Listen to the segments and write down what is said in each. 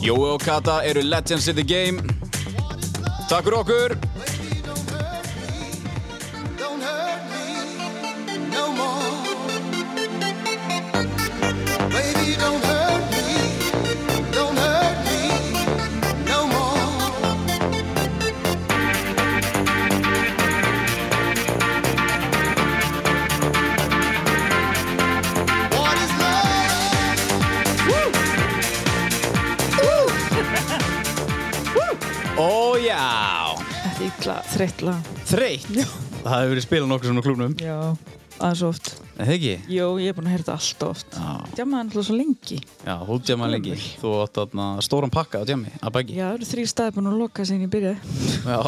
Jói og Kata eru legends in the game. Takk fyrir okkur. Don't hurt me no more. Baby, don't hurt me. Don't hurt me no more. What is love? Ó já, Þetta er illa þreytt lag. þreytt. Það hefur verið spilað nokkur svona klubnum. Já, aðeins oft. En það ekki? Jó, ég er búin að heyrta allt oft. Já. Djamaði hann alltaf svo lengi. Já, hún djama lengi. Þú átt þarna stóran pakka á djami, að baki. Já, það eru þrý staði búin að loka síðan ég byrjaði. Já.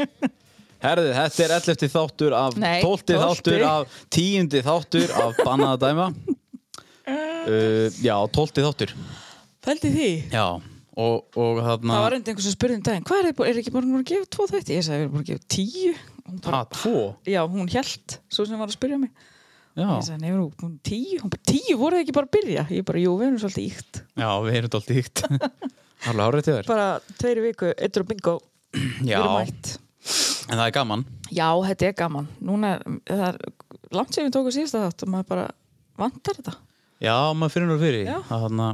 Herðu, þetta er 11. þáttur af Nei, 12. þáttur 12. af 10. þáttur af bannaða dæma. Uh, já, 12. þáttur. Fældi því? Já, og, og þarna... Það var enda einhvers sem spurði um daginn, hvað er þið búin, er ekki bara búin að gefa tvo þætti? Ég sagði, við erum búin að gefa tíu. Hún bara, Ha, tvo? já, hún held, svo sem var að spyrja mig. Já, Ég sagði, nefnir hún, hún tíu, hún bara, tíu, voru þið ekki bara að byrja? Ég bara, jú, við erum svolítið íkt. já við erum dálítið hýgt. Harla hárið til þér. Bara tveiri viku, eittur og bingo, við Já, erum mætt. en það er gaman. Já, þetta er gaman. Núna, er- það er langt sem við tókum síðasta þátt og maður bara vantar þetta. Já, maður finnur nú fyrir. því. Já. að Þarna,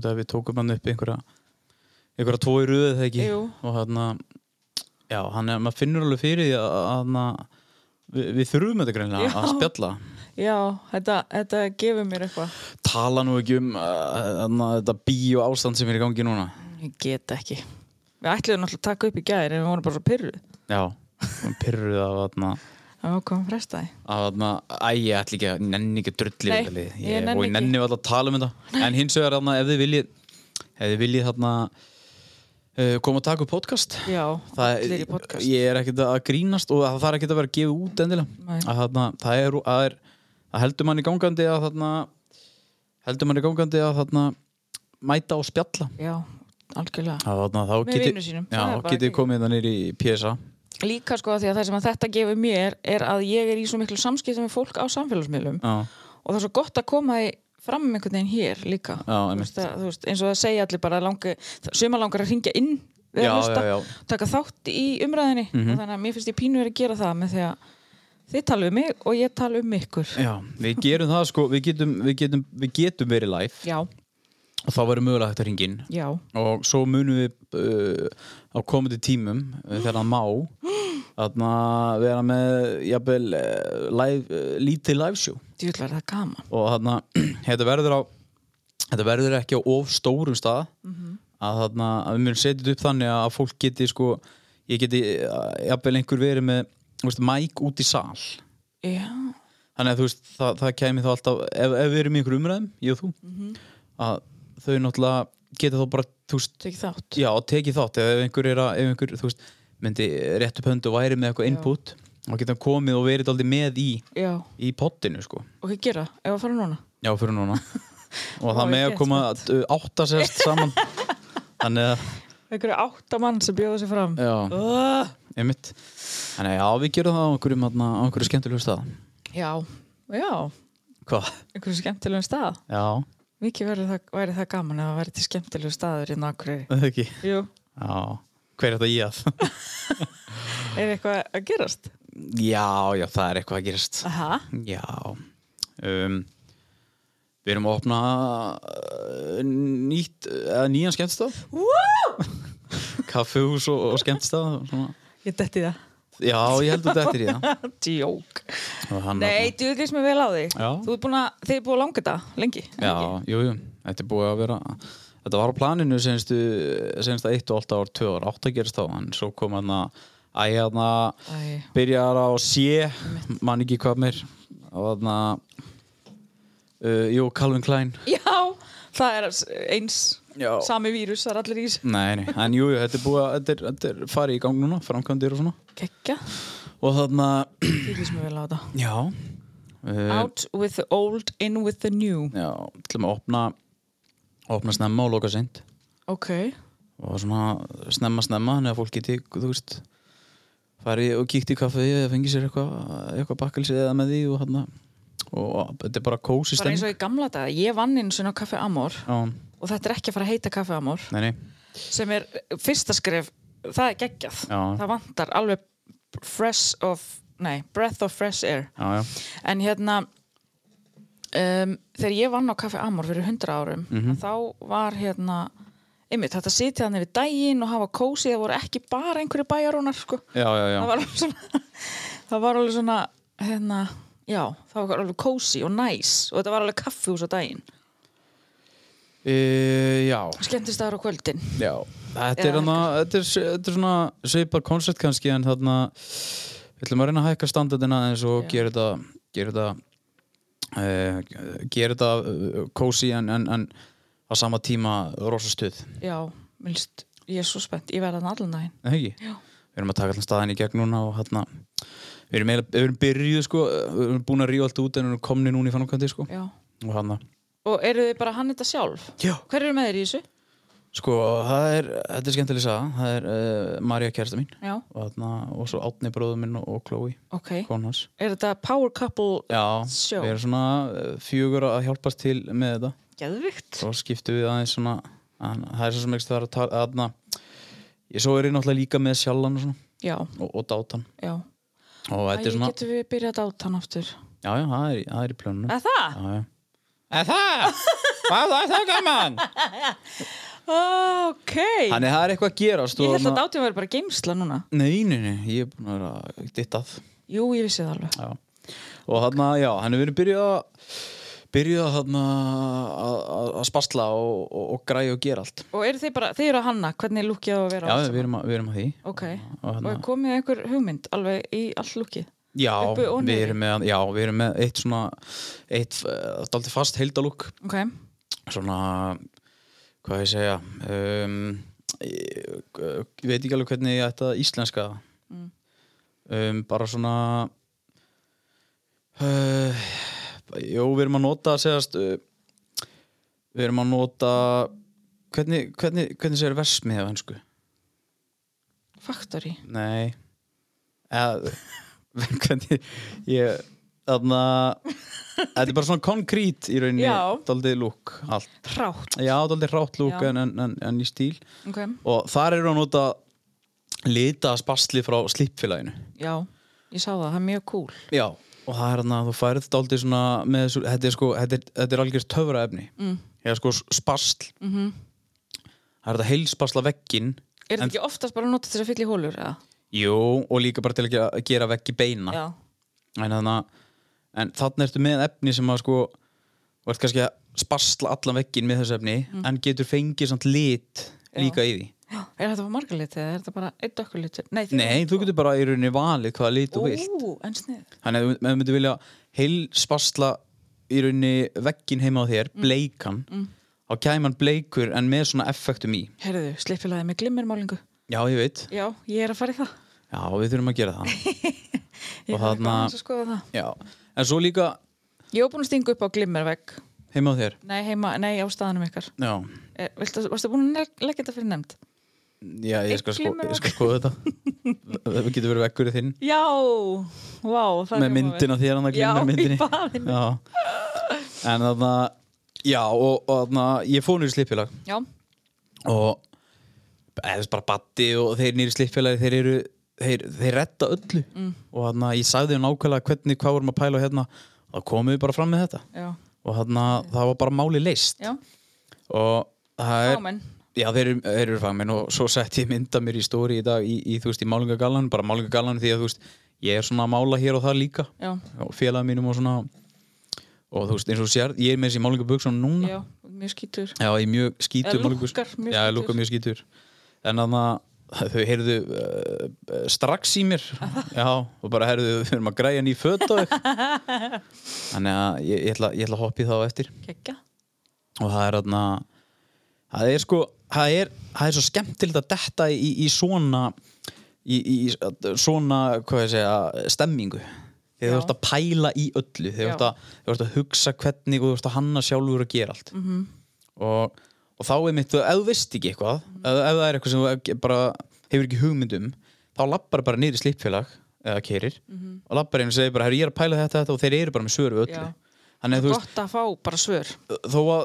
út af við tókum hann upp einhverja, einhverja tvo í röðu þegar ekki. Jú. Og þarna, já, hann er, maður finnur alveg fyrir því að þarna, við, við þurfum þetta greinlega Já. að spjalla. Já, þetta, þetta gefur mér eitthvað. Tala nú ekki um uh, þarna, þetta bíó ástand sem er í gangi núna. Ég get ekki. Við ætliðum náttúrulega að taka upp í gæri en við vorum bara svo pyrruð. Já, hann pyrruð af þarna, Það var komið frestaði. að þarna, æ, ég ætla ekki að nenni ekki að drulli Nei, við þetta lið ég nenni og ég ekki. nenni alltaf að tala um þetta en hins vegar þarna, ef þið viljið ef þið viljið þarna uh, koma að taka upp podcast Já, það, allir í podcast. ég er ekkert að grínast og það þarf ekkert að vera að gefa út endilega Nei. að þarna, það er, að er að heldur manni gangandi að þarna heldur manni gangandi að þarna mæta og spjalla Já, algjörlega. að þarna, þá Með vinum geti, sínum, já, það er bara geti geggjað. komið þannig í PSA Líka sko að því að það sem að þetta gefur mér er að ég er í svo miklu samskiptum með fólk á samfélagsmiðlum já, og það er svo gott að koma því fram með einhvern veginn hér líka. Já, Þú einmitt. veist að- þú veist, eins og það segja allir bara langi, suma langar að ringja inn við já, að hlusta. já, já, Mhm. taka þátt í umræðinni og þannig að mér finnst ég pínu verið að gera það með því að þið tala um mig og ég tala um ykkur já við gerum það sko, við getum, við getum, við getum verið live já, og þá verður mögulega hægt að ringin já, og svo munum við uh, á komandi tímum uh, þegar það má þarna vera með jafnvel, uh, live, uh, lítið live show djúll var það gaman og þarna þetta verður á þetta verður ekki á of stórum stað að þarna að við munum setja þetta upp þannig að fólk geti sko ég geti uh, jafnvel einhver verið með þú veist, mæk út í sal já, þannig að þú veist það, það kæmi þá alltaf ef, ef við erum í einhverjum umræðum, ég og þú að þau náttúrulega geta þá bara þú veist tekið þátt Já, tekið þátt ef einhver er að, ef einhver, þú veist, myndi rétt upp höndu og væri með eitthvað input og geta hann komið og verið aldrei með í já, í pottinu, sko, og hvað gera, ef að fara núna já, fyrir núna og Ó, það með ég að get koma átta sérst saman þannig að, einhverju átta mann sem bjóða sig fram já, uh, einmitt þannig að já, við gerum það á einhverjum, þarna, á einhverju skemmtilegu stað já, já hvað? einhverju skemmtilegum stað Já, mikið væri það, væri það gaman að það væri til skemmtilegu staður í nákværi það ekki jú, Já, hver er þetta í að? er eitthvað að gerast já, já, það er eitthvað að gerast aha, Já um, Við erum að opna uh, nýtt, eða nýjan skemmtstað Kaffehús og, og skemmtstað og svona. ég detti það Já, ég held að þetta er í það djók Og hann- Nei, þú veist mér vel á þig Já. Þú ert búin að, þið er búin að langa þetta lengi Já, jú, jú, þetta er búið að vera Þetta var á planinu senstu, senstu 1 og 8 ár, 2 ár, 8 gerist þá en svo kom hann að æ, hann að Æ, byrjar á sé man ekki hvað mér og þarna Uh, jú, Calvin Klein. Já, það er eins Já. sami vírus, það er allir í þessu Nei, nei, en jú, jú, þetta er búið að, þetta er, þetta er farið í gang núna, framkvæmdir og svona. Kekja, Og þarna, ég lýsum vel á þetta já, uh, Out with the old, in with the new já, til að opna, opna snemma og loka seint. Ok, Og svona snemma, snemma, þannig að fólk geti, þú veist, farið og kíkt í kaffið eða fengið sér eitthvað, eitthvað bakkelsi eða með því og þarna, og þetta er bara kósi bara stemning. eins og í gamla daga Ég vann eins og á Café Amor Já, og þetta er ekki að fara að heita Café Amor nei, nei, sem er fyrsta skref það er geggjað, Já. það vantar alveg fresh of, nei, breath of fresh air já, já, en hérna um, þegar ég vann á Café Amor fyrir 100 árum þá var hérna einmitt, þetta sitja þannig við daginn og hafa kósi það voru ekki bara einhverju bæjarónar sko. já, já, já. það var alveg svona það var alveg svona hérna, já, það var alveg kósi og næs og þetta var alveg kaffihús á daginn E, já, skemmtist aðra á kvöldin já. Þetta, Já, er hana, þetta, er, þetta er svona svipar koncept kannski en þarna við ætlum að reyna að hækka standardina eins og Já. gera þetta gera þetta e, gera þetta kósi en, en, en á sama tíma rosa stuð, já, minnst, ég er svo spennt ég verða þannig allan daginn eða ekki? Já. Við erum að taka allan staðin í gegn núna og hérna við erum, eiginlega- við erum byrjuð sko við erum búin að ríða allt út en við erum komni núna í framkvæmdi sko Já. og hérna Og eru þið bara að hanna þetta sjálf? Já. Hver eru með þér í þessu? Sko, það er, þetta er skemmtileg saga það er uh, Marja kærasta mín Já. og, þarna, og svo Átni bróður minn og, og Chloe Ok. konu hans Er þetta power couple Já, Sjó. við erum svona eh, fjögur að hjálpast til með þetta geðvikt? svo skiptum við aðeins svona að, það er svo sem ekki það er að tala aðna, ég svo er ég náttúrulega líka með sjallan og, svona, Já, og, og dátan já. og þetta Æ, er svona getum við byrjað að dáta hann aftur. já, já, það er, í- það er í plönunum Er það? já, já. Er það? Hvað er það gaman? Ok. Þannig það er eitthvað að gerast Ég og held að þarna- dátum verið bara geimsla núna. Nei, nei, nei, ég er búin að vera dittað Jú, ég vissi það alveg. Já. Og þarna, já, hann er verið byrjuð að byrjuð að þarna að, að að spasla og, og, og græja og gera allt. Og eru þið bara, þið eru að hanna, hvernig lukkið á að Já, vera á allt við erum, að, við erum að því. Ok. Og Og þarna, er komið einhver hugmynd alveg í allt lukkið? já, uppu og við niðri. erum með, já, við erum með eitt svona, eitt, þetta aldrei fast heildalúk, Ok. svona, hvað ég segja, um, ég, ég veit ekki alveg hvernig ég ætti að íslenska það. Um, bara svona, uh, jú, við erum að nota, segjast, uh, við erum að nota, hvernig, hvernig, hvernig segir versmið af hensku? Factory. Nei eða hvernig ég þarna þetta er bara svona konkrít í rauninni Já. daldið lúk allt Rátt. já, daldið hrátt lúk Já. en, en, en, en í stíl Ok. og þar eru að nota lita spasli frá slipfélaginu Já, ég sá það, það er mjög cool. já og það er þarna að þú færið daldið svona með þessu þetta er sko þetta er, þetta er algjör töfra efni mm. eða sko spasl mm Mhm. -hmm. það er þetta heilspasla veggin Er þetta ekki oftast bara notað til að fylla í hólur, eða? jú og líka bara til að gera, gera veggi beina Já. en þannig en þannig ertu með efni sem að sko og ert kannski að sparsla allan veggin með þessu efni en getur fengið samt lit líka í því Mhm. Já, er þetta bara margar litur eða er þetta bara einn dökkur litur? Nei, Nei, þú getur bara í rauninni valið hvaða lit þú vilt Ú, en snið. Þannig að ef þú myndir vilja heil sparsla í rauninni veggin heima á Mm. þér, bleikan þá kæmi hann bleikur en með svona effektum í Herðu, slippilaði með glimmermálingu. Já, ég veit, Já, ég er að fara í það. já við þurfum að gera það Ég Og er þarna- bara að skoða það. Já, en svo líka Ég var búin að stinga upp á glimmervegg. heima á þér Nei, heima, nei, á staðanum ykkar. Já, Er, viltu, varstu búin að le- leggja þetta fyrir nefnd? já ég, skal sko, ég skal skoða þetta Það getur verið veggur í þinn Já, vá, það með myndina þér hann að glimma Já, í myndinni baðinu. já. en þarna já og, og þarna ég fór nýri slippilag Já, og eða þess bara batti og þeir nýri slippilagi þeir eru þeir, þeir retta öllu Mm. og þarna ég sagði þeim nákvæmlega hvernig hvað vorum að pæla og hérna þá komum við bara fram með þetta já, og þarna það var bara máli leist já, og það er ámenn. Já, þeir eru, þeir eru fagmenn og svo sett ég mynda mér í stóri í dag í, í, þú veist, í málingagallan, bara málingagallan því að, þú veist, ég er svona að mála hér og það líka Já. og félaga mínum og svona og þú veist, eins og þú sér, ég er með þessi málingaböksun núna, Já, mjög skítur. já, ég er mjög skítur Eða málingaböksun. lúkkar mjög Já, skítur. lúkar mjög skítur en þannig að þau heyrðu uh, strax í mér já, og bara heyrðu við erum að græja ný föt á þau þannig að ég, ég, ætla, ég ætla að hoppa í þá eftir Kekja. og það er þarna það er sko það er, það er svo skemmtilegt að detta í, í svona í, í svona hvað ég segja, stemmingu þegar þú Já. ert að pæla í öllu þegar þú Já. ert að, þegar þú ert að hugsa hvernig og þú ert að hanna sjálfur að gera allt Mhm. -hmm. og, og þá er mitt ef þú veist ekki eitthvað Mhm. ef, ef það er eitthvað sem þú ekki- bara hefur ekki hugmyndum þá lappar bara niður í slípfélag eða keirir og lappar einu og segir bara "Herru, ég er að pæla þetta, þetta og þeir eru bara með svör við öllu Mhm. Já. þannig að þú veist, Gott að fá bara svör, þó að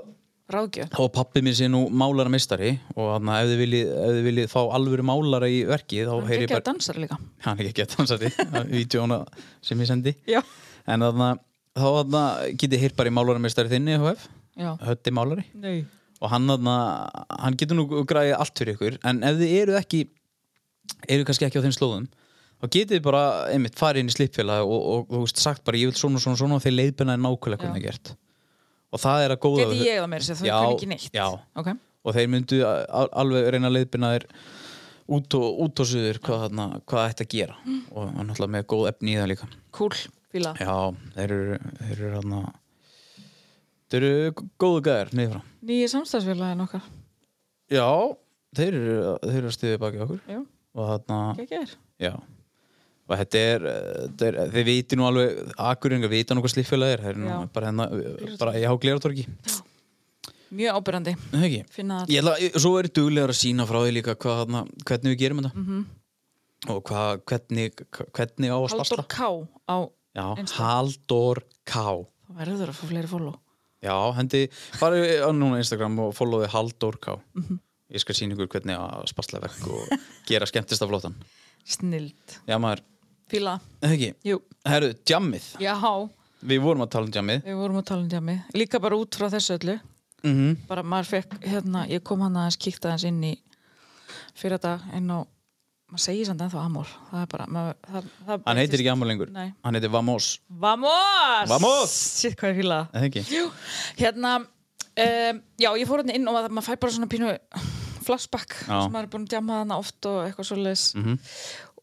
ráðgjöf. og pappi minn sé nú málara meistari og hann ef þið viljið, ef þið viljið fá alvöru málara í verkið þá Það er heyri ég ekki að bara, dansar líka. hann er ekki að dansa því vídjóna sem ég sendi Já. en þarna, þá þarna getið heyrt bara í málara meistari þinni HF, Já. hötti málari Nei. og hann þarna, hann getur nú græðið allt fyrir ykkur, en ef þið eru ekki eru kannski ekki á þeim slóðum þá getið þið bara, einmitt, farið inn í slipfélag og, og, og þú veist, sagt bara, ég vil svona, svona, svona og þeir leiðbenaði nákvæmlega hvernig það er gert og það er að góða Geti ég það meira sér, þú Já, kann ekki neitt. já. Ok. og þeir myndu a- al- alveg reyna að leiðbyrna þér út og, út og suður hvað, þarna, hvað ætti að gera og og náttúrulega með góð efni í það líka Cool, fíla. já, þeir eru þeir eru hana þeir eru g- góðu gæðir niður frá Nýji samstagsfélagin okkar. já, þeir eru, þeir eru að stuðið baki okkur Já, og þarna, ekki er. já og þetta er, eh, þetta er þeir viti nú alveg, akkuringar vita nú hvað slíffélag er þeir eru nú Já. bara hérna, bara ég há gleratorki Mjög ábyrrandi. ekki Finna það. Ég ætla, ég- svo er duglegar að sína frá því líka hvað, þarna, hvernig við gerum þetta Mhm. og hvað, hvernig, hvernig á að Haldur spasla K á, Já, Insta. Haldur K þá verður að fá fleiri follow. Já, hendi, farið á núna Instagram og followið Haldur K Mhm. Ég skal sína ykkur hvernig að spasla vekk og gera skemmtista flótan Snild. Já maður, Fíla. eða ekki, Jú. herru, djammið Já, Við vorum að tala um djammið við vorum að tala um djami. Líka bara út frá þessu öllu. mm Bara maður fekk, hérna, ég kom hann aðeins, kíkti aðeins inn í fyrir þetta inn á, maður segir samt ennþá Amor. Það er bara, maður, það, það Hann heitir ekki Amur lengur, Nei. hann heitir Vamos Vamos! Vamos! Sitt hvað ég fíla. Eða ekki, Jú, hérna um, Já, ég fór hérna inn og maður, maður fær bara svona pínu flashback Já. Mhm. sem maður er búin að djama þarna oft og eitthvað svoleiðis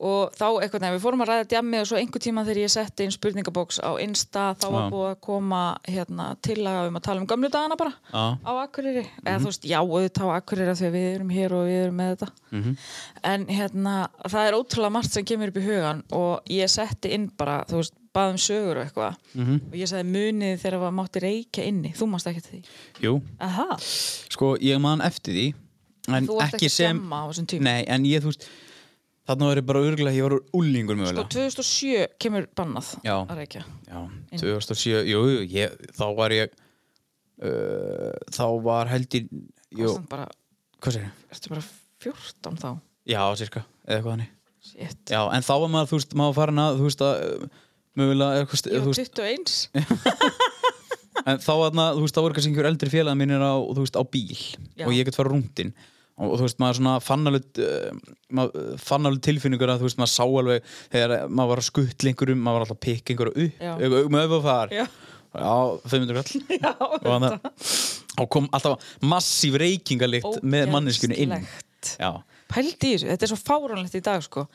og þá eitthvað nefn, við fórum að ræða djami og svo einhver tíma þegar ég setti inn spurningabóks á Insta, þá var Já. búið að koma hérna, tillaga um að tala um gamlu dagana bara Já. á Akureyri, eða þú veist, já, auðvitað á Akureyri af því að við erum hér og við erum með þetta Mhm. en hérna, það er ótrúlega margt sem kemur upp í hugan og ég setti inn bara, þú veist, baðum sögur og eitthvað Mhm. og ég sagði munið þegar maður mátti reykja inni, þú mást ekki til því jú Aha, Sko, ég man eftir því en þú ert ekki, ekki sem djamma á þessum tíma Nei, en ég, þú veist Þarna var ég bara örgulega, ég var úlingur Sko, mögulega 2007 kemur bannað Já. að reykja Já, 2007, jú, jú, ég, þá var ég uh, Þá var held ég Jú, Ástand bara, hvað segir ég? ertu bara 14 þá Já, cirka, eða eitthvað þannig Shit, Já, en þá var maður, þú veist, maður farin að, þú veist að uh, Mögulega, eitthvað, st- þú ég var veist 21 En þá var þú veist, þá voru kannski einhver eldri félaga mínir á, þú veist, á bíl Já. Og ég get fara rúndin Og, þú veist, maður svona fann alveg uh, maður uh, fann alveg tilfinningur að, þú veist, maður sá alveg Þegar maður var að skuttla einhverjum, maður var alltaf að pikka einhverju upp eh, um Já. Ö- ö- Með öfufar Já, Já, 500 kall já, og hann og kom alltaf massíf reykingalikt með manneskunni inn Ógeðslegt. já, Pældi í þessu, þetta er svo fáránlegt í dag sko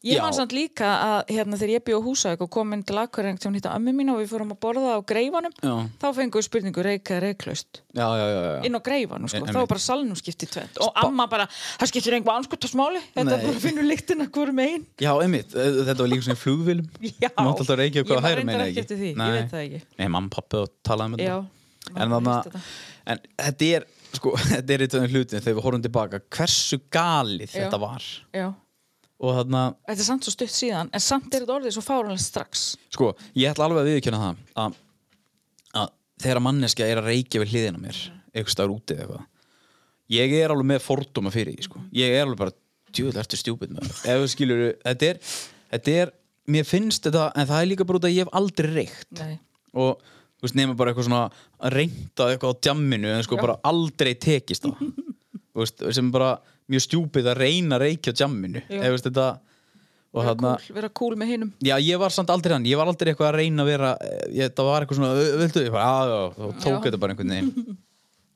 Ég Já. man samt líka að hérna þegar ég bjóð húsæk og kom inn til Akureyring til hún hitta ömmu mín og við fórum að borða á greifanum já, þá fengum við spurningu reyka eða reyklaust já, já, já, já. inn á greifanum sko, Einmitt. þá var bara salnum skipt í tvent og amma bara, það skiptir einhver anskotasmáli þetta Nei. er bara finnur lyktina hvort megin já einmitt, eh, þetta var líka svona í flugvilum Já. mátt alltaf reykja Ég hvað var hæra reyndar meina ekki eftir því, ég Nei. veit það ekki. nei, mamma, pappi og talaði um Já, þetta en maður þannig veist þetta. að en þetta er, sko, þetta er eitt af þeim hlutin þegar við horfum tilbaka, hversu galið Já. þetta var Já. og þannig að þetta er samt svo stutt síðan en samt er þetta orðið svo fáránlegt strax sko, ég ætla alveg að viðkjöna það að, að þegar manneskja er að reykja við hliðina á mér Mm. einhvers staðar úti eða eitthvað ég er alveg með fordóma fyrir því sko. ég er alveg bara, djúvel, ertu stjúpid með ef þú skilur, þetta er, þetta er mér finnst þetta, en það er líka bara út að ég hef aldrei reykt Nei. og þú veist, nema bara eitthvað svona að reynda eitthvað á djamminu en sko bara aldrei tekist það Þú veist, sem er bara mjög stjúpið að reyna að reykja á djamminu Já. eða þú veist þetta og vera þarna cool, vera cool með hinum Já, ég var samt aldrei hann, ég var aldrei eitthvað að reyna að vera, eh, ég, það var eitthvað svona, "Ö, viltu, ég bara, að, já, þá tók Já. þetta bara einhvern veginn.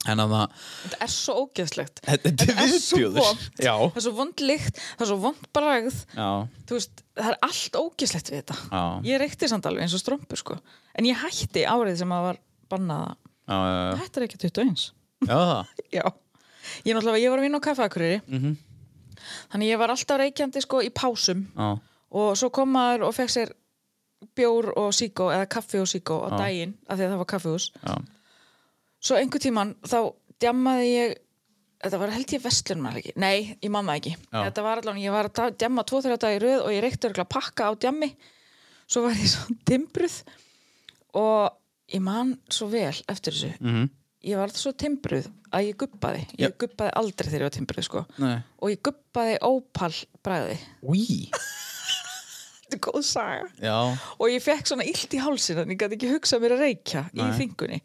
en að það Þetta er svo ógeðslegt Þetta- þetta er er svo viðbjóður. vont. Já. Það er svo vond lykt, það er svo vond bragð já, Þú veist, það er allt ógeðslegt við þetta Já. Ég reykti samt alveg eins og strömpu sko En ég hætti árið sem að var bannaða já, já, já. Þetta er ekki 21 já það. Já Ég náttúrulega, ég var að vinna á kaffakurri Mhm. Þannig ég var alltaf reykjandi sko í pásum já, og svo kom maður og fekk sér bjór og síkó eða kaffi og síkó á daginn af því að það var kaffihús já, svo einhver tíman þá djammaði ég þetta var held ég vestlunum ekki nei, ég man það ekki Já. þetta var allan, ég var að ta- djamma 2-3 dag í röð og ég reykti örgulega pakka á djammi svo var ég svo timbruð og ég man svo vel eftir þessu mhm, ég var alltaf svo timbruð að ég guppaði ég Já. guppaði aldrei þegar ég var timbruð sko. nei og ég guppaði ópal bræði Új, þetta er góð saga já, og ég fekk svona illt í hálsin þannig ég gæti ekki hugsað mér að reykja í Nei. þingunni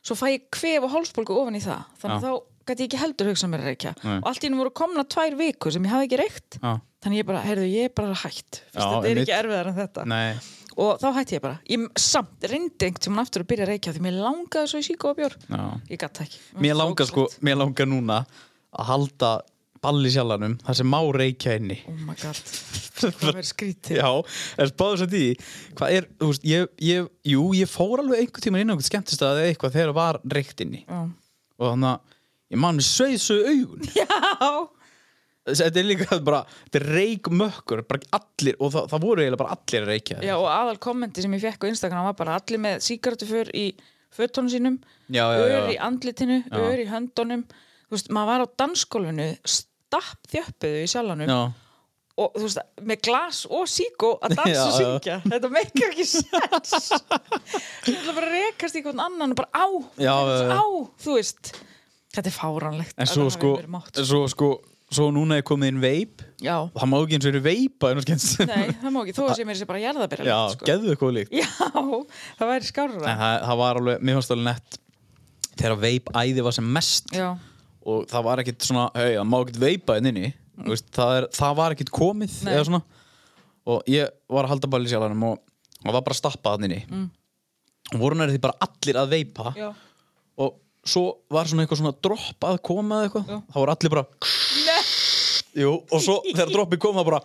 svo fæ ég kvef og hálsbólgu ofan í það þannig Já. að þá gæti ég ekki heldur hugsað mér að reykja Nei. og allt í henni voru komna tvær vikur sem ég hafði ekki reykt já, þannig ég bara, heyrðu, ég er bara hætt Fyrst, Já, þetta er einmitt. ekki erfiðar en þetta nei og þá hætti ég bara, ég samt reyndi einhvern tímann aftur að byrja að reykja því mér langaði svo í síkó og bjór já. ég gæti ekki Mér langar sko, mér langar núna að halda balli sjalanum þar sem má reykja inni oh my god, það verður skrítið Já, en spáðu svo því Hvað er, þú veist, ég, ég, jú, ég fór alveg einhvern tímann inn á einhvern skemmtistað eða eitthvað þegar var reykt inni Já. og þannig að ég mann sveið svo augun já, Þessi- Þetta er líka bara, þetta er reykmökkur bara allir, og það, það voru eiginlega bara allir að reykja Já, og aðal kommenti sem ég fekk á Instagram var bara allir með síkartuför í fötunum sínum, Já, já, já. ör í andlitinu, ör í höndunum. Þú veist, maður var á dansgólfinu, stapp þjöppuðu í sjalanum já, og þú veist, með glas og síkó að dansa Já, og já. syngja. Þetta meikir ekki sens. Þú ætla bara að rekast í hvern annan og bara á, Já, já, já. á, þú veist. Þetta er fáranlegt. En svo sko, en svo sko svo núna er komið inn veip Já, og það má ekki eins og eru veipa en nei, það má ekki. Þú veist, ég meira sér bara jarðabirja. Já, sko. geðu eitthvað líkt Já, það væri skárra. en það, það var alveg, mér fannst alveg nett þegar veip æði var sem mest Já. og það var ekkit svona, hei, það má ekkit veipa inn inni mm. veist, það, er, það var ekkit komið Nei. eða svona og ég var að halda bæli sjálfanum og það var bara að stappa þann inni mm. og voru nærið því bara allir að veipa Já. og svo var svona eitthvað svona dropp að koma eða eitthvað, Já. það voru allir bara Jú, og svo þegar droppi kom það bara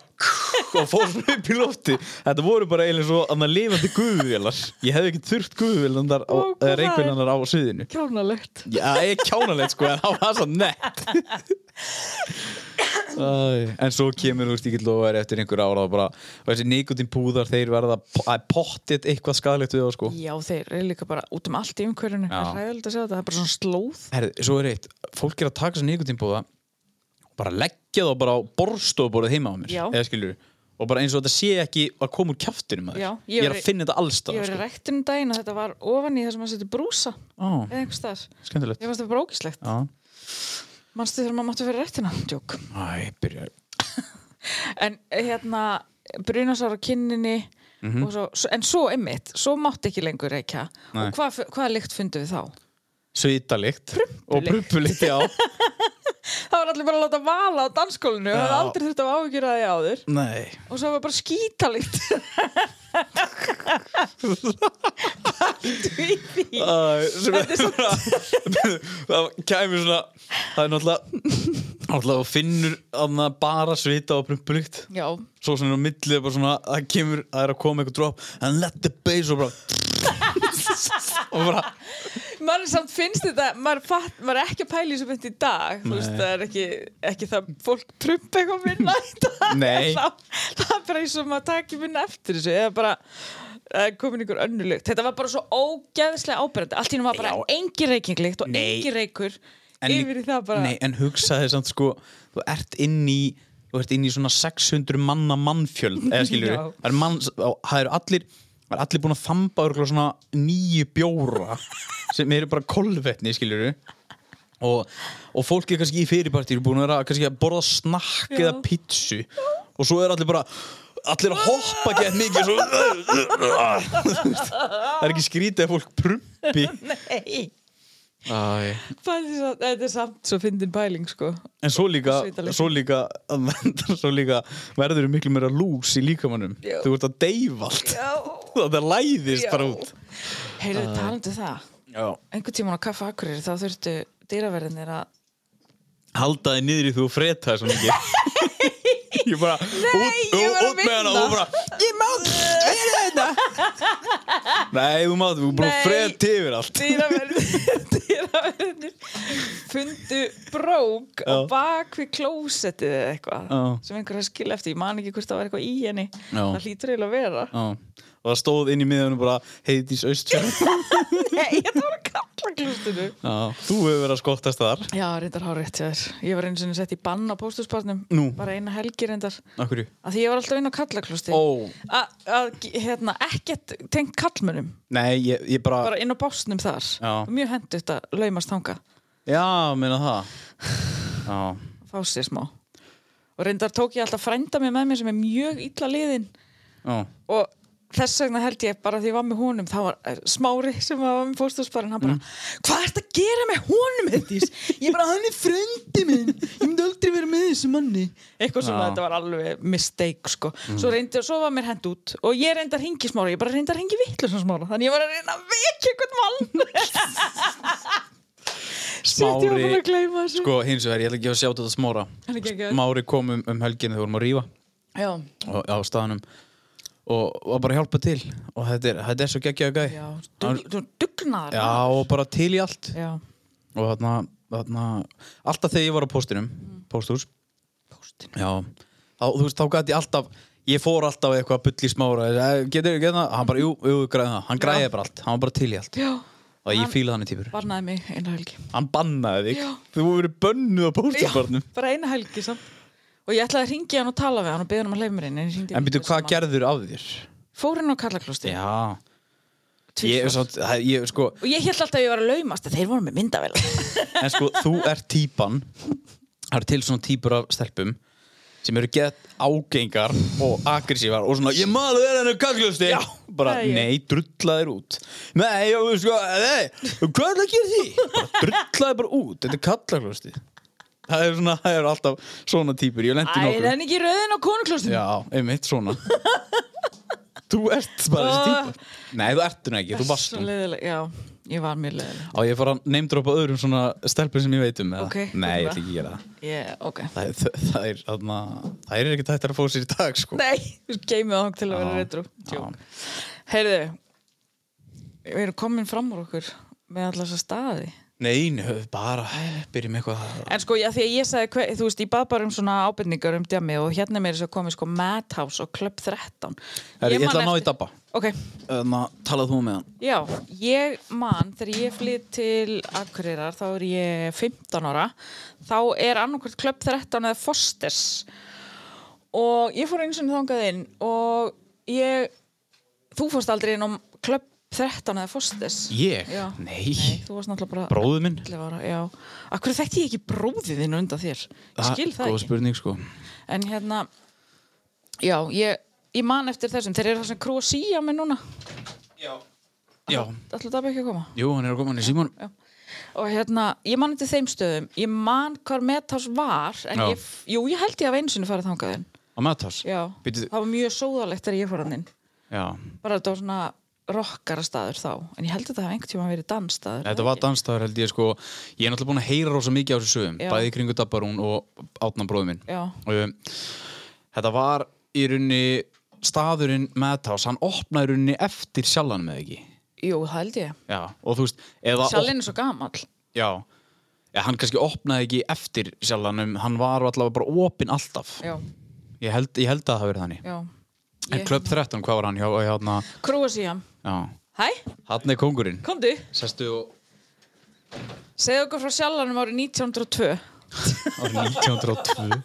og fór svona upp í lofti þetta voru bara eiginlega svo annað lifandi guðvélar ég hefði ekki þurft guðvélandar Ó, hvað það er. reikvélandar á sviðinu Kjánalegt. Já, það er kjánalegt sko, en það var svo nett Æ, En svo kemur, þú veist, ég get lofa þér eftir einhver ára og bara, þessi nikotin púðar þeir verða pottit eitthvað skadalegt við þá sko Já, þeir eru líka bara út um allt í umhverjunu. Það er ræðilegt að segja þetta. Það er bara svona slóð. Herðu, svo er eitt, fólk er að taka þessi nikotinpúða og bara leggja þá bara á borstofbórið heima á mér, Já. eða skilur og bara eins og þetta sé ekki að koma úr kjaftinum að þér, Já, ég ég, er var- að finna þetta Ég allstað var í sko. ræktunum um daginn að þetta var ofan í það sem maður setur brúsa Ó, eða einhvers staðar. Ég skemmtilegt fannst það bara ógíslegt. Já, Manstu þegar maður máttu fyrir rættina? Djók. Æ, byrja En hérna, brunasára kinninni Mhm. og svo, svo- en svo einmitt, svo mátti ekki lengur reykja. Nei. Og hvað, f- hvaða lykt fundu við þá? Svítalikt og prumpulikt, já Það var allir bara að láta vala á danskólinu og Já. það aldrei þurft að áhugjur að því áður. Nei Og svo var bara skítalikt. Pældu í því. Æ, sem er svona það kæmi svona það er náttúrulega náttúrulega þú finnur aðna bara svita og prumpulikt Já, svo sem er á millið bara svona það kemur það er að koma eitthvað drop and let the bass og bara og bara maður samt finnst þetta maður, fatt, maður er ekki að pæla í þessu mynd í dag þú Nei. veist, það er ekki, ekki það fólk prumpa eitthvað minna í dag Nei. það, það er bara eins og maður takir minna eftir þessu eða bara eh, komin ykkur önnulykt þetta var bara svo ógeðslega ábyrjandi allt í nú var bara Já. engin reykinglikt og Nei. engin reykur en lí- yfir í það bara nei en hugsaði samt sko þú ert inn í þú ert inn í svona 600 manna mannfjöld eða skilur Já. það er mann það eru allir það eru allir búin að þamba örgulega svona nýju bjóra sem eru bara kolvetni skilur og, og fólk er kannski í fyrirpartir búin að vera kannski að borða snakk Já. eða pítsu og svo er allir bara allir að hoppa gett mikið svo, það er ekki skrítið að fólk prumpi nei. Æ. Það er samt- þetta er samt svo fyndin pæling sko En svo líka, Svitalegt. svo líka, svo líka verður miklu meira lús í líkamannum. Já. Þú ert að deyfa allt. Það læðist bara út. Ah. heyrðu talandi um það Já. einhvern tímann á kaffa akkurir þá þurftu dýraverðinir að haldaði niðri því þú fretaði svo mikið ég bara út, ég var að út með hana vinna. og bara ég má vera þetta nei þú mátt, þú bara Nei. freti yfir allt dýraverðinir, dýraverðinir fundu brók Já. á bak við klósettið eða eitthvað Já. sem einhver að skilja eftir, ég man ekki hvort það var eitthvað í henni Já. það hlýtur eiginlega að vera Já. og það stóð inn í miðunum bara heiðdís austfjörð Nei, þetta var að kalla klóstinu þú hefur verið að skottast þar Já, reyndar hár rétt hjá þér. Ég var einu sinni sett í bann á póstusbarnum. Nú. Bara eina helgi reyndar. okkur Að því ég var alltaf inn á kallaklusti. Ó. Að, hérna, ekkert tengt kallmönnum. nei, ég, ég bara, Bara inn á básnum þar. Já. Mjög hendugt að laumast þanga. já, meina það já, Fá sér smá. Og reyndar tók ég alltaf frænda mig með mér sem er mjög illa liðin. já, Og þess vegna held ég bara því ég var með honum, þá var eh, smári sem var með póstusbarinn, hann Mm. bara, hvað ert að gera með honum, Hedís? Ég bara, hann er fröndi minn. Ég myndi aldrei vera með þessu manni. eitthvað svona, Já. Mm. þetta var alveg mistake sko. svo reyndi, svo var mér hend út og ég reyndi að ringi smára, ég bara reyndi að ringi vittlusum smára, þannig ég var að reyna að vekja einhvern mann Shit, ég var búin smári að gleyma þessu. sko, hins vegar, ég ætla ekki að sjá þetta smára Hann er geggjaður. smári kom um, um helginu, þú vorum að rífa já, og, á staðanum og var bara að hjálpa til og þetta er, þetta er svo geggjaða gæ já, dug- þú dugnaðar já og bara til í allt já, og þarna, þarna alltaf þegar ég var á postinum Mm. pósthús Póstinum. já, þá, þú veist þá gæti ég alltaf ég fór alltaf eitthvað að bull í smára "Eh, getur við það, hann bara, jú, jú, græði það hann græði bara allt, hann var bara til í allt já, og ég Hann- fíla þannig týpur, barnaði mig eina helgi hann bannaði þig Já. þú voru verið bönnuð á póstarbarnum bara eina helgi samt og ég ætlaði að ringi hann og tala við hann og beða hann um að leiða mér inn en ég hringdi en býtu, vitlaust hvað mann. gerður á þér? fór hann á kallaklosti já, ég, tvisvar. svo, ég, sko, og ég held alltaf að ég var að laumast að þeir voru með myndavel en sko, þú ert típan það eru til svona típur af stelpum sem eru gett ágengar og agressívar og svona ég maður er henni kaklusti Já, bara það er ég. nei, drullaðir út nei, já, þú sko, nei, hvað er það að gera því bara drullaðir bara út, þetta er kallaklusti það er svona, það eru alltaf svona típur, ég lendi Æ, nokkuð þannig ekki rauðin á konuklostum já, einmitt svona þú ert bara Ah. þessi típa nei, þú ert hún ekki, þú varst Svo hún leiðileg, já, ég var mjög leiðileg á ég að fara að neymdropa öðrum svona stelpum sem ég veit um eða? Ok, nei, ég ætla gerum ekki að gera það yeah, ok Það, það, það er, þarna, það er ekki tættar að fá sér í dag, sko. Nei, þú geymið þang til að vera Já, retrú já. Heyrðu Við erum komin fram úr okkur með allar þessa staði Nei, nö, bara byrjum eitthvað að... En sko, já, því að ég sagði, hver, þú veist, ég bað bara um svona ábyrningar um djami og hérna meira svo komið sko Madhouse og Club 13 Herri, ég man ætla að ná í eftir- dabba. Ok, Um, talað þú með hann? Já, ég man, þegar ég flytt til Akureyrar, þá er ég 15 ára, þá er annarkvært klöpp 13 eða Fosters og ég fór eins og þangað inn og ég, þú fórst aldrei inn á klöpp 13 eða Fosters Ég? Já. Nei. Nei, þú varst náttúrulega bara Bróður minn? 11 ára, já. Akkur þekkti ég ekki bróðið þinn undan þér? Ég skil það Ah, Góð ekki. spurning, sko. En hérna, já, ég, ég man eftir þessum, þeir eru það sem krúa síja með núna. Já. Ætlaðu það ekki að koma? Jú, hann er að koma hann í síman. og hérna, ég man eftir þeim stöðum ég man hvar Metals var en Já. ég, f- jú, ég held ég að einu sinni farið þangað inn Á Matas? já, Býtu, það var mjög sóðalegt þegar ég fór hann inn já. bara þetta var svona rockara staður þá en ég held að það hafa einhvern tíma verið dansstaður Þetta var dansstæður held ég sko Ég er náttúrulega búin að heyra rosa mikið á þessu sögum Já. Bæði í kringu Dabbarún og Átna bróður minn Já. Um, Þetta var í rauninni staðurinn Madhouse Hann opnaði í rauninni eftir sjallan með ekki jú, það held ég, Já, og þú veist eða op- sjálfinn er svo gamall Já, ja, hann kannski opnaði ekki eftir sjálfanum, hann var allavega bara opinn alltaf. já, Ég held, ég held að það verið þannig. já En Club 13, hvað var hann hjá, hjá hann að, Krúa síðan, já, hæ, hann er kongurinn. komdu Sestu og, segðu okkur frá sjálfanum árið 1902 árið 1902.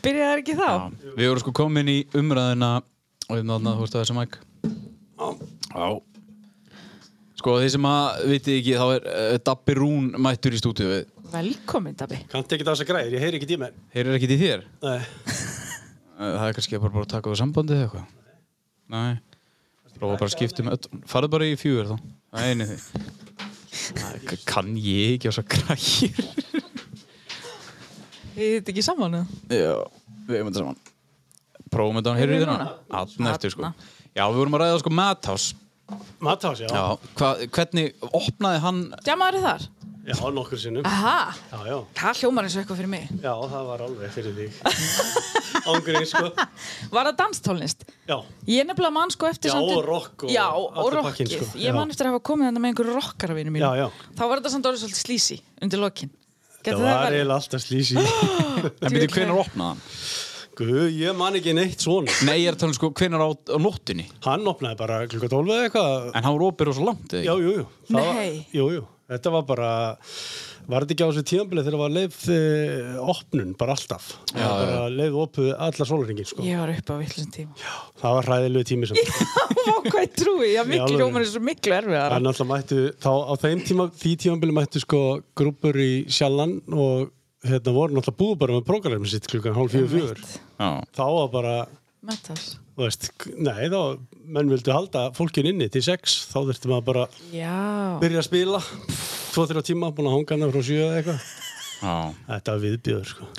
byrjaði það ekki þá? Já, við vorum sko komin í umræðina, og um þarna, þú veist að þessu mæk. Já. Sko, þeir sem að, vitið ekki, þá er uh, Dabbi Rún mættur í stúdíu við. velkomin Dabbi Kannt ekki þess að græðir, ég heyri ekki tíma Heyrir ekki til þér? Nei, Uh, Það er kannski bara, bara að taka á sambandið eða eitthvað Nei Prófa bara að skipta um öll Farðu bara í fjúur þá Það er einu því Það k- Kann ég ekki á svo græjir Þið þetta ekki saman eða? Já, við erum þetta saman Prófum þetta hann, heyrðu þér núna? Atna eftir sko Já, við vorum að ræða sko Madhouse Mathás, já. Já, hva, hvernig opnaði hann Djamaður þar? Já, nokkur sinnum. Aha, Já, já. það hljómar eins og eitthvað fyrir mig. Já, það var alveg fyrir þig. Ángurinn, sko. Var það danstólnist? Já. Ég nefnilega man sko eftir Já, samt og rokk og Já, og allur pakkinn, rokkið sko. Ég man Já. eftir að hafa komið þannig með einhverju rokkarvinu mínu Já, já. Þá var þetta samt orðið svolítið slísi undir lokin Gæti Það það var verið? eiginlega alltaf slísi. En byrju, hvenar opnaði hann? Guð, ég man ekki neitt svona. Nei, ég er að tala um sko, hvenar á, á nóttunni? Hann opnaði bara klukka 12 eða eitthvað. En hann var opið rosa langt, eða Já, ekki? jú, jú. Það var- Nei. Jú, jú. Þetta var bara, var þetta ekki á þessu tíðanbilið þegar var leið eh, opnun bara alltaf. Já, bara leið opið allar sólaringin, sko. Ég var upp á villum tíma Það var hræðilegu tími sem. Vá, hvað ég trúi, já, miklu alvöru. ljómar er svo miklu erfiðara En alltaf mættu, þá á þeim tíma, því tímabili mættu sko grúpur í sjallan og hérna voru náttúrulega búið bara með prógramið sitt klukkan hálf fjögur fjögur. Já. Þá var bara, Metas þú veist, k- nei þá, menn vildu halda fólkin inni til sex, þá þurfti maður bara Já, byrja að spila, tvo þrjá tíma, búin að hanga hana frá sjö eða eitthvað. Já. Þetta var viðbjöður sko,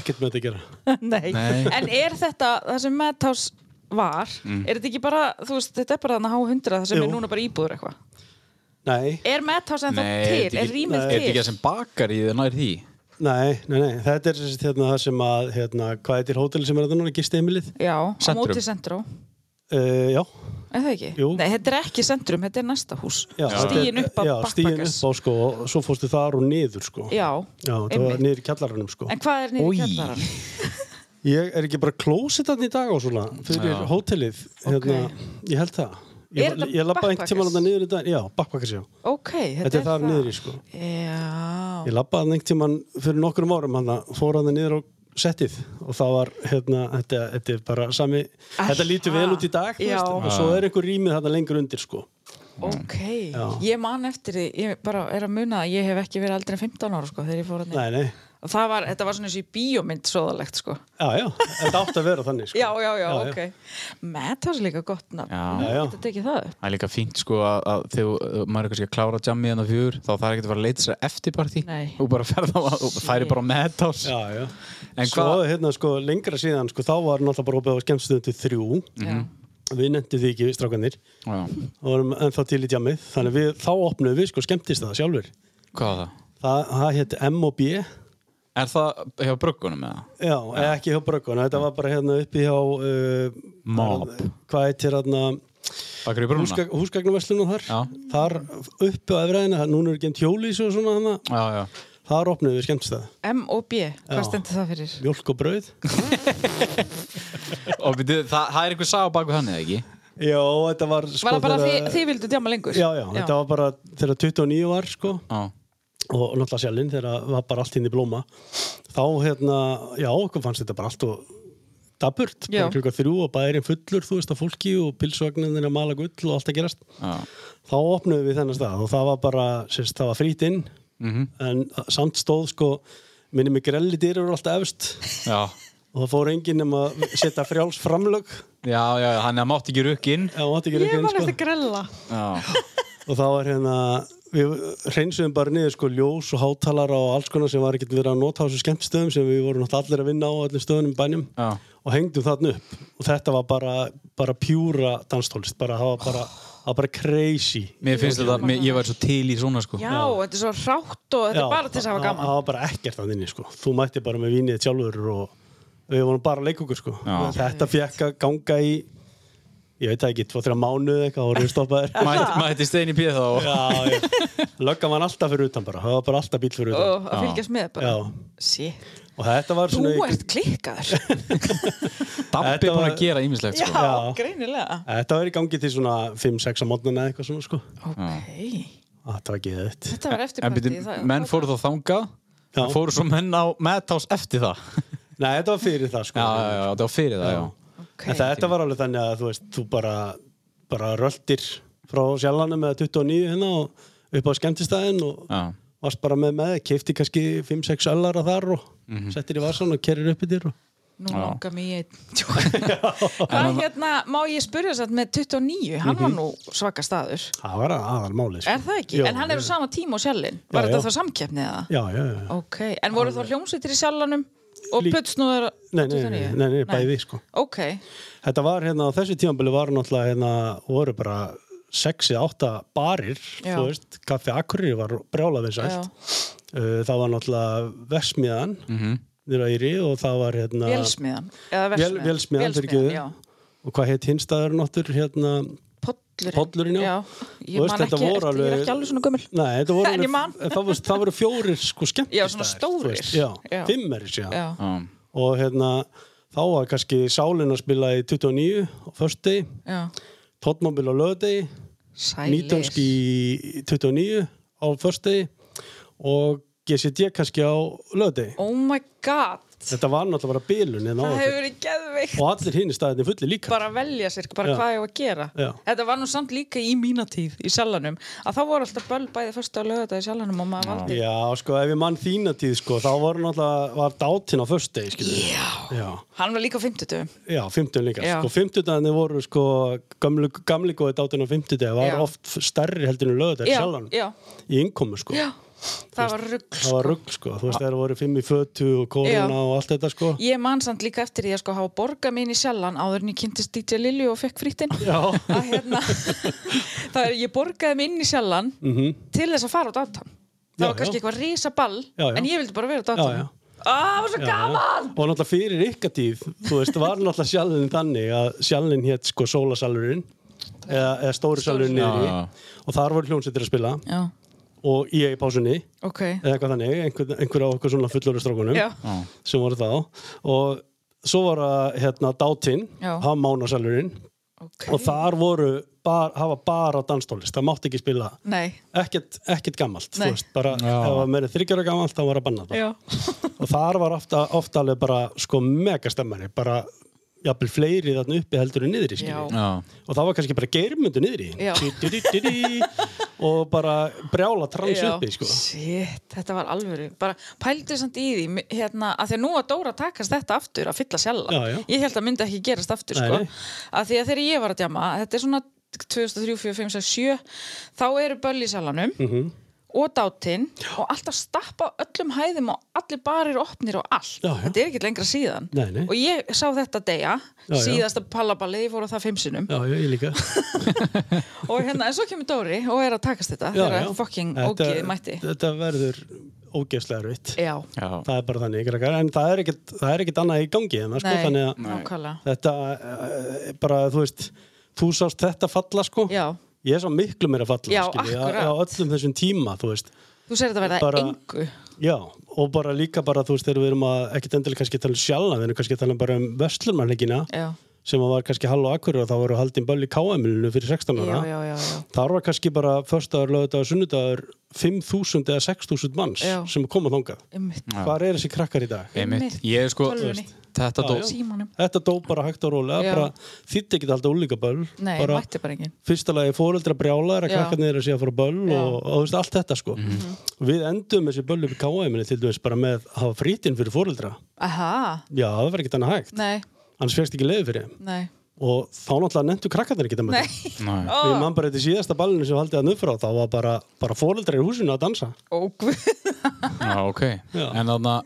ekkert með þetta að gera. nei. Nei. En er þetta, það sem Metas var Mm. Er þetta ekki bara, þú veist, þetta er bara þannig að há hundra Það sem Jú. er núna bara íbúður eitthvað Nei, Er Metas en þá Nei, er til, þetta er ekki- rýmið nei. Er þetta ekki til það sem bakar í þið nær því? nei, nei, nei, þetta er sem sagt, hérna, það sem að, hérna, hvað heitir hótel sem er þetta núna, gistihemilið? Já, á Centrum. móti sendró Uh, já, Er það ekki? Jú. Nei, þetta er ekki centrum, þetta er næsta hús. já. þetta er- Stígin upp að Já, stígin bakbakas. upp á sko, og svo fórstu þar og niður sko. Já, Já, það var einmitt. niður í kjallaranum sko. En hvað er niður í kjallarann? Ég er ekki bara klósið þarna í dag og svona fyrir hótelið, hérna, ég held það. Er Ég, þetta ég labbaði einhvern tíma backpackers? þarna niður í dag, já, backpackers já. Ok, þetta, Þetta er þar niður í sko. Já, Ég labbaði þarna einhvern tíma fyrir nokkrum árum hann fór hann niður á settið og það var, hérna, þetta, þetta er bara sami, þetta lítur vel út í dag, þú Ah. Já. veist, og svo er einhver rýmið þarna lengur undir sko. ok. Já. Ég man eftir því, ég bara er að muna að ég hef ekki verið aldrei 15 ára sko þegar ég fór að niður. Nei, nei, Og það var, þetta var svona eins og í bíómynd svoðalegt sko. já, já, þetta átti að vera þannig sko. Já, já, já, ok. Metas er líka gott nafn. Já. Nú, Já, já. Þetta tekið það upp. Það er líka fínt sko að, að þegar uh, maður er kannski að klára jammi þannig að fjör þá þarf ekki að fara að leita sér eftir partí Nei. og bara ferð á að færi bara með tás Já, já. En svo hvað- hérna sko lengra síðan sko þá var náttúrulega bara opið á skemmstöðum til þrjú. Við nefndum því ekki við strákanir Hvað og vorum ennþá til í djamið. Þannig við, þá opnum við sko skemmtist það sjálfur. er það? Það, það hétt M&B. Er það hjá bruggunum eða? Já, ja. Eh, ekki hjá Brökkona. Þetta var bara hérna uppi hjá... Uh, Mob. Hvað heitir hérna... Bakar í brúnuna? Húsgagnarverslunum þar. Já. Þar uppi á efræðina, það- núna er genn hjólís og svona hana. Já, já Þar opnum við skemmtist M og B, hvað Já. stendur það fyrir? Mjólk og brauð. Og byrju, það, það er einhver sá baku hann eða ekki? Já, þetta var sko... Var það bara þegar- því, þið vildu djáma lengur? Já, já, þetta var bara þegar 29 var sko Já og náttúrulega sjálfinn þegar það var bara allt inn í blóma þá hérna, já, okkur fannst þetta bara allt og daburt, Já. bara klukka þrjú og bærin fullur, þú veist, af fólki og pilsvagninir að mala gull og allt að gerast Já, þá opnuðum við þennan stað og það var bara, sérst, það var frýtt inn en samt stóð sko minni mig grelli dýrur alltaf efst já, og það fór enginn um að setja frjáls framlög já, já, hann að mátt ekki rukk inn Já, mátti Ég ekki rukka inn, var sko. eftir grella. Já, og þá var hérna við hreinsuðum bara niður sko ljós og hátalara og alls konar sem var ekkert verið að nota á þessu skemmtstöðum sem við vorum náttúrulega allir að vinna á á öllum stöðunum í bænum Já. og hengdum þarna upp og þetta var bara, bara pjúra danstólist, bara það var bara, það var bara crazy mér finnst þetta, mér, ég væri svo til í svona sko Já, þetta er svo rátt og þetta Já, er bara til þess að hafa það- gaman. Það var bara ekkert að inni sko. Þú mætti bara með vinið þitt sjálfur og við vorum bara að leika okkur sko. Já. Þetta fekk að ganga í, ég veit það ekki, tvo-þrjá mánuð eitthvað og rústoppaðir. Mætti mætti stein í píð þá Já, já. Löggan var alltaf fyrir utan bara, það var bara alltaf bíl fyrir utan. og að fylgjast með bara Já. Shit, Og þetta var þú svona... ert klikkaður Dabbi Þetta búin var- að gera ímislegt Já, sko Já. greinilega Þetta var í gangi til svona 5-6 á mótnana eða eitthvað svona sko. Ah, Ok, Þetta var geðið. þetta var En eftirparti byrju, menn fóru þá þangað Já. en fóru svo menn á meðtás eftir það Nei, þetta var fyrir það sko. Já, já, já, það var fyrir það, já En þetta var alveg þannig að þú veist, þú bara, bara röltir frá sjálfanum með 29 hérna og upp á skemmtistæðin og Já, varst bara með með, keifti kannski 5-6 öllara þar og Mhm. settir í varsan og kerir upp í þér og... Nú langar mér í einn Djók. Hvað hérna, má ég spyrja satt með 29, hann Mhm. var nú svaka staður Það var aðal máli sko. Er það ekki? Jó, en hann er á sama tíma og sjallin Var Já, þetta já. þá samkeppni eða? Já, já, já. Ok, en voru þá hljómsveitir í sjallanum og Lík- putsnúður á Nei, nei, nei, 29? nei, nei, bæði sko. Ok, Þetta var hérna, á þessu tímanbili var náttúrulega hérna, voru bara 6 eða 8 barir Já. þú veist, kaffi Akureyri var brjálað vinsælt uh, það var náttúrulega Vesmiðan mm -hmm. nýra Íri og það var hérna Vélsmiðan eða Vél- versmiðan Vélsmiðan, fyrirgefðu. já. og hvað heit hinstaður náttur hérna Pollurinn, Pollurinn, já. já. Þú Ég veist, man þetta ekki, voru eftir- ég er alveg- ekki alveg svona gömul Nei, þetta voru En ég man. alveg- það, voru- það voru fjórir sko skemmt Já, svona stórir. já, Já. fimm er þessi Já, Já. og hérna þá var kannski sálin að spila í 29 á försti, já tóttmóbil á löðdegi Sælir nýtönsk í 29 á försti og GCD kannski á löðdegi Oh my god, þetta var náttúrulega bara bilun hérna á það hefur okkur. verið geðveikt og allir hinn í staðinni fulli líka bara að velja sér, bara Já. hvað ég var að gera Já. þetta var nú samt líka í mína tíð í salanum, að þá voru alltaf böll bæði fyrst á lögða í salanum og maður valdi já, sko, ef ég mann þína tíð sko, þá var náttúrulega var dátinn á försti já, já hann var líka á 50 Já, 50 líka. Já. Sko, 50 dagarnir voru sko gamli, gamli góði dátinn á 50 dagar var Já. oft stærri heldur en lögðar já, sjálfan já, í innkomu sko. já, það var rugg Það var rugg sko. Þú veist þegar voru fimm í fötu og Já. korona og allt þetta sko. Ég man samt líka eftir því að sko hafa borgað mín í sjallan áður en ég kynntist DJ Lilju og fekk frýttinn. Já. Að hérna, það er, ég borgaði mig inn í sjallan Mhm. til þess að fara á dátan. Það Já, var kannski já. eitthvað risaball, Já, já. en ég vildi bara vera á Já, já. dátan. Það var svo gaman! Og náttúrulega fyrir ykkar tíð, þú veist, var náttúrulega sjálfinn þannig að sjálfinn hétt sko sólasalurinn eða, eða stóri salurinn niður í Já, já. og þar voru hljómsveitir að spila Já, og ég í pásunni ok. eða eitthvað þannig, einhver, einhver á okkur svona fullorðu strókunum Já, sem voru þá og svo var að hérna dátinn, Já. hann mánasalurinn ok. og þar voru, bar, hafa bara danstólist, það mátti ekki spila Nei, ekkert, ekkert gammalt, þú Nei. veist, bara ef það var meira þryggjara gammalt, þá var að banna það já, og þar var ofta, ofta alveg bara sko megastemmari, bara jafnvel fleiri þarna uppi heldur en niðri já. skilji. Já. og það var kannski bara geirmundu niðri Já. Dí, dí, dí, dí, dí, og bara brjála trans Já. uppi sko. Shit, þetta var alvöru bara pældu samt í því mi- hérna, að því að nú að Dóra takast þetta aftur að fylla sjalla Já, já. ég held að myndi ekki gerast aftur Nei, sko. nei. að því að þegar ég var að djama þetta er svona 2003, 4, 5, 6, 7 þá eru böll í sjalanum Mhm. og dátinn og alltaf stappa á öllum hæðum og allir barir opnir og allt Já, já. þetta er ekkert lengra síðan Nei, nei. og ég sá þetta deyja Já, já. síðasta pallaballið, ég fór á það fimm sinnum já, já, ég líka og hérna, en svo kemur Dóri og er að takast þetta já, þegar já. fucking Þetta- ógið mætti þetta verður ógeðslega erfitt já, Já. það er bara þannig krakkar, en það er ekkert, það er ekkert annað í gangi en það sko, Nei, þannig að nákvæmlega. þetta eh, bara, þú veist þú sást þetta falla sko Já. ég sá miklu meira falla Já, skilji, á- akkurat. á öllum þessum tíma, þú veist Þú segir þetta verða Bara- engu já, og bara líka bara, þú veist, þegar við erum að ekkert endilega kannski að tala um sjálfna, við erum kannski að tala bara um vestlumannleikina, Já, sem að var kannski hall og akkur og þá voru haldin böll í KM-ilinu fyrir 16 já, já, ára já, já. þar var kannski bara förstaðar, lögðar, sunnudagur 5.000 eða 6.000 manns Já. sem koma þangað Einmitt. hvar er þessi krakkar í dag? Einmitt. Ég er sko, Tölvunni. þetta dó. Símanum Þetta dó bara hægt og rólega Já. bara, þýtti ekki alltaf úlíkaböll Nei, bara mætti bara enginn fyrsta lagi fóreldra brjálar að Já. krakkarnir er að sé að fara á Já. böll Mhm. og, og þú veist, allt þetta sko Við endum þessi böll upp í KM-inni til dæmis bara með að hafa frítinn fyrir fóreldra Aha, Já, það var ekkert annað hægt nei, annars fegst ekki leiði fyrir þeim nei og þá náttúrulega nendu krakkarnir ekki það með Nei, Nei. Og ég man bara þetta síðasta ballinu sem haldið að nöfra þá var bara, bara fóreldra í húsinu að dansa ógvöð Já, ok. Já. En þarna,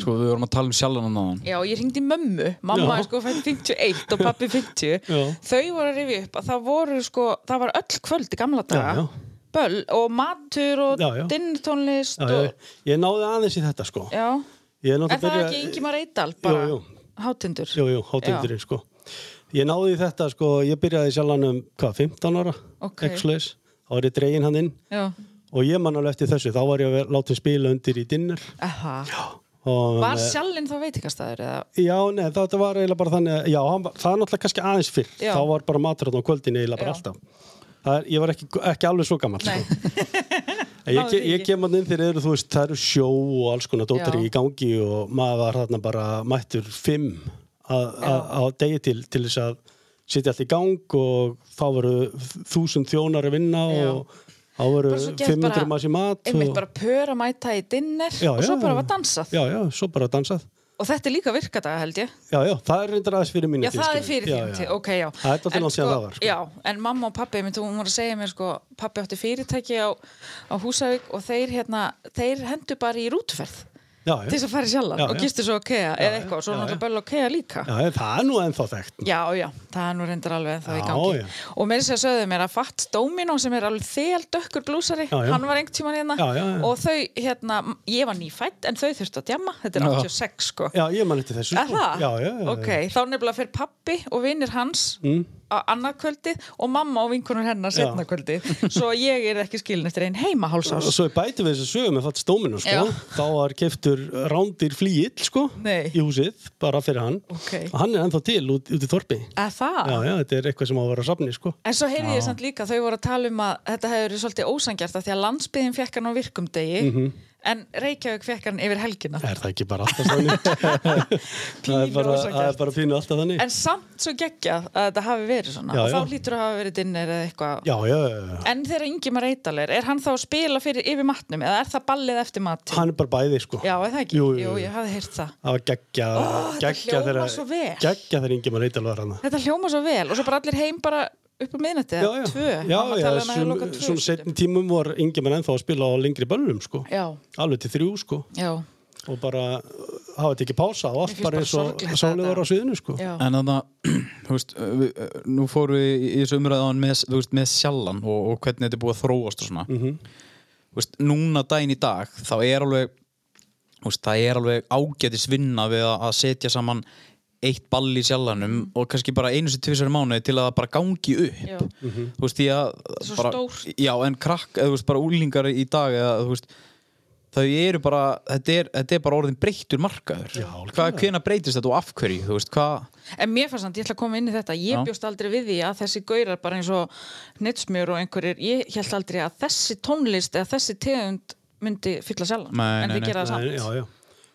sko, við vorum að tala um sjálfann annan. Já, ég ringdi í mömmu, mamma er sko fætt 51 og pappi 50 Já. Þau voru að rifja upp að það voru sko, það var öll kvöld í gamla daga Já, já. Böll og matur og Já, já. dinntónlist Já, og ég, ég náði aðeins í þetta sko Já, Ég en það er ekki Ingimar Eidal bara Jú, jú. hátindur Jú, jú, hátingdurinn sko Ég náði í þetta sko, ég byrjaði sjálfan um hvað, 15 ára, Ok. X-Lays þá var ég dregin hann inn Já, og ég man alveg eftir þessu, þá var ég að láta spila undir í dinner aha og, Var sjallinn þá veitingastæður eða? Já, nei, þetta var eiginlega bara þannig að, já, hann, var- það er náttúrulega kannski aðeins fyrr Já. þá var bara maturinn á kvöldin eiginlega bara Já. alltaf það er, ég var ekki, ekki alveg svo gammal Nei, sko. En ég, náði ke- því ég ekki. kem hann inn þegar eru, þú veist, það eru sjó og alls konar dótari Já. í gangi og maður var þarna bara mættur fimm að- að- á degi til til þess að setja allt í gang og þá voru þúsund þjónar að vinna Já. og þá voru Bara svo gert 500 bara- maður í mat einmitt og, bara pör að mæta í dinner Já, og svo já, bara já. var dansað já, já, svo bara dansað og þetta er líka virkadaga held ég já, já, það er reyndar aðeins fyrir mínu já það er skilurðu. fyrir Já, þínum já. tíð, ok já Það er dálítið En langt síðan það var, sko. já, en mamma og pappi minn, hún var að segja mér sko pappi átti fyrirtæki á, á Húsavík og þeir hérna, þeir hendu bara í rútferð Já, til þess að fara í sjallan Eh? Já, og já. gistu svo á KEA eða eitthvað, svo já, er já. náttúrulega böll á KEA líka já, það er nú ennþá þekkt. Já, já, það er nú reyndar alveg ennþá í Já, gangi já. og meira sér sögðu mér að Fats Domino sem er alveg þeldökkur blúsari, Já, já. hann var einhvern tíman hérna Já, já, já. og þau, hérna, m- ég var nýfætt en þau þurftu að djamma, þetta er 86 sko Já, ég man eftir þessu. Er sko. það? Já, já, já. Ok, þá nefnilega fyrir pappi og vinnir hans mm. annað kvöldið og mamma og vinkunur hennar Já. setna kvöldið svo ég er ekki skilin eftir einn Og heimahálsás svo ég bæti við þessu sögum með fatt stóminu, Já. sko. Þá var keftur rándir flýill, sko, Nei. í húsið, bara fyrir hann. Ok. Ah. Og hann er ennþá til út, út í þorpi. Er það? Já, já, þetta er eitthvað sem á að vera á safni, sko. En svo heyrði ég samt líka, þau voru að tala um að þetta hefur verið svolítið ósangjart að því að landsbyðin fekk hann á virkumdegi en Reykjavík fekk hann yfir helgina. Er Mhm. það ekki bara alltaf þannig? það er Pínu bara, ósanngjarnt. það er bara pínu alltaf þannig. En samt svo geggjað að þetta hafi verið svona Já, og þá já. hlýtur að hafa verið dinner eða eitthvað. Já, já, já, já. En þegar Ingimar Eitalir, er hann þá að spila fyrir yfir matnum eða er það ballið eftir mati? Hann er bara bæði, sko. Já, er það ekki? Jú, jú, jú. ég hafði heyrt það. Það var geggja, Ó, þetta hljómar svo vel. geggja þegar yngi maður eitthvað var hann. Þetta hljóma svo vel og svo bara allir heim bara upp á miðnætti Já, eða já, tvö. já, Mamma já, talaði um að hefði svona, lokað tvö, svona stundum. setni tímum var yngi maður ennþá að spila á lengri böllum, sko. Já, Alveg til þrjú, sko. já, og bara uh, hafa þetta ekki pása og allt finnst bara bara eins og sorglegt sálið þetta. var á sviðinu sko. já. En þannig að, þú veist, uh, við, uh, nú fórum við í í þessu umræðan með, þú veist, með sjallan og, og hvernig þetta er búið að þróast og svona. Þú veist, núna daginn í dag, þá er alveg, þú veist, það er alveg ágætis vinna við að að setja saman eitt ball í sjallanum og kannski bara einu sem tvisar í mánuði til að það bara gangi upp. Já. Þú veist, því að... Svo bara, stórt. Já, en krakk, eða þú veist, bara úlingar í dag eða, þú veist, þau eru bara, þetta er, þetta er bara orðin breyttur markaður. Já, hvað, hvena breytist þetta og af hverju, þú veist, hvað... En mér fannst hann, ég ætla að koma inn í þetta, ég Já. bjóst aldrei við því að þessi gaurar bara eins og hnitsmjör og einhverjir, ég held aldrei að þessi tónlist eða þessi tegund myndi fylla sjálfan, Nei, en nei, þið nei. gera það Það samt. er, já, já.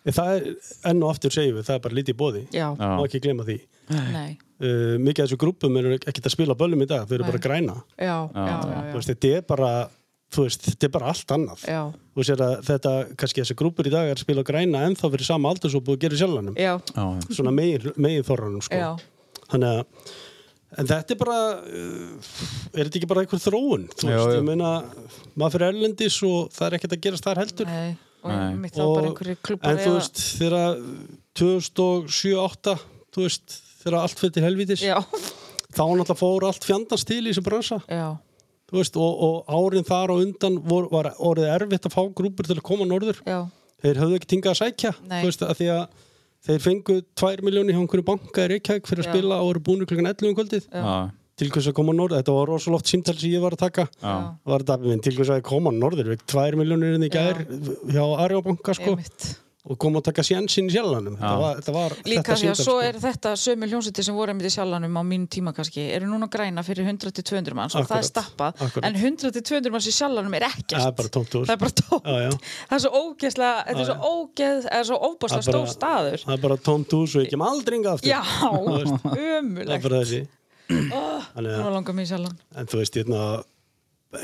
En Það er, enn og aftur segjum við, það er bara lítið í bóði Já, Já. má ekki gleyma því nei, uh, mikið af þessu grúpum eru ekkert að spila á böllum í dag, þau eru Nei. bara græna já, já, já, Þú já. veist, þetta er bara þú veist, þetta er bara allt annað Já. þú veist, þetta, þetta, kannski þessi grúpur í dag er að spila á græna ennþá fyrir sama aldur svo búið að gera í sjálfanum Já, Já, svona megin, megin þorranum sko. Já. þannig að en þetta er bara uh, er þetta ekki bara einhver þróun þú Já, veist, já. ég meina, maður fyrir erlendis og það er ekkert að gerast þar heldur nei, og Nei. mitt þá bara einhverjir klubbar en þú veist, þegar að 2007-2008 þú veist, þegar allt fyrir til helvítis Já, þá náttúrulega fór allt fjandans til í þessu bransa já, þú veist, og, og árin þar og undan vor, var orðið erfitt að fá grúpur til að koma norður já, þeir höfðu ekki tingað að sækja Nei. þú veist, að því að þeir fengu 2 miljóni hjá einhverju banka í Reykjavík fyrir að Já. spila og eru búinu klukkan 11 um kvöldið já, já. til hvers að koma á norður, þetta var rosalega oft símtæl sem ég var að taka Já. var þetta minn, til hvers að koma á norður 2 miljónir inn hérna í gær hjá Arjóbanka sko, einmitt. og koma að taka sjansinn í sjálfanum þetta var, þetta var Líka þetta því að símtal, svo sko. er þetta sömu hljónsiti sem voru einmitt í sjálfanum á mínu tíma kannski, eru núna græna fyrir 100-200 manns og það Akkurat, er stappað, akkurat. en 100-200 manns í sjálfanum er ekkert. Það er bara tómt hús. Það er bara tómt. Já, já. Það er svo ógeðslega, þetta er svo ógeð, það er svo óbáslega Það er bara- stór staður. það er bara tómt hús og ég kem aldrei inga aftur Já, veist, það er ömulegt. bara þessi Þannig Nú að, langar mér í sjálfan. en þú veist, hérna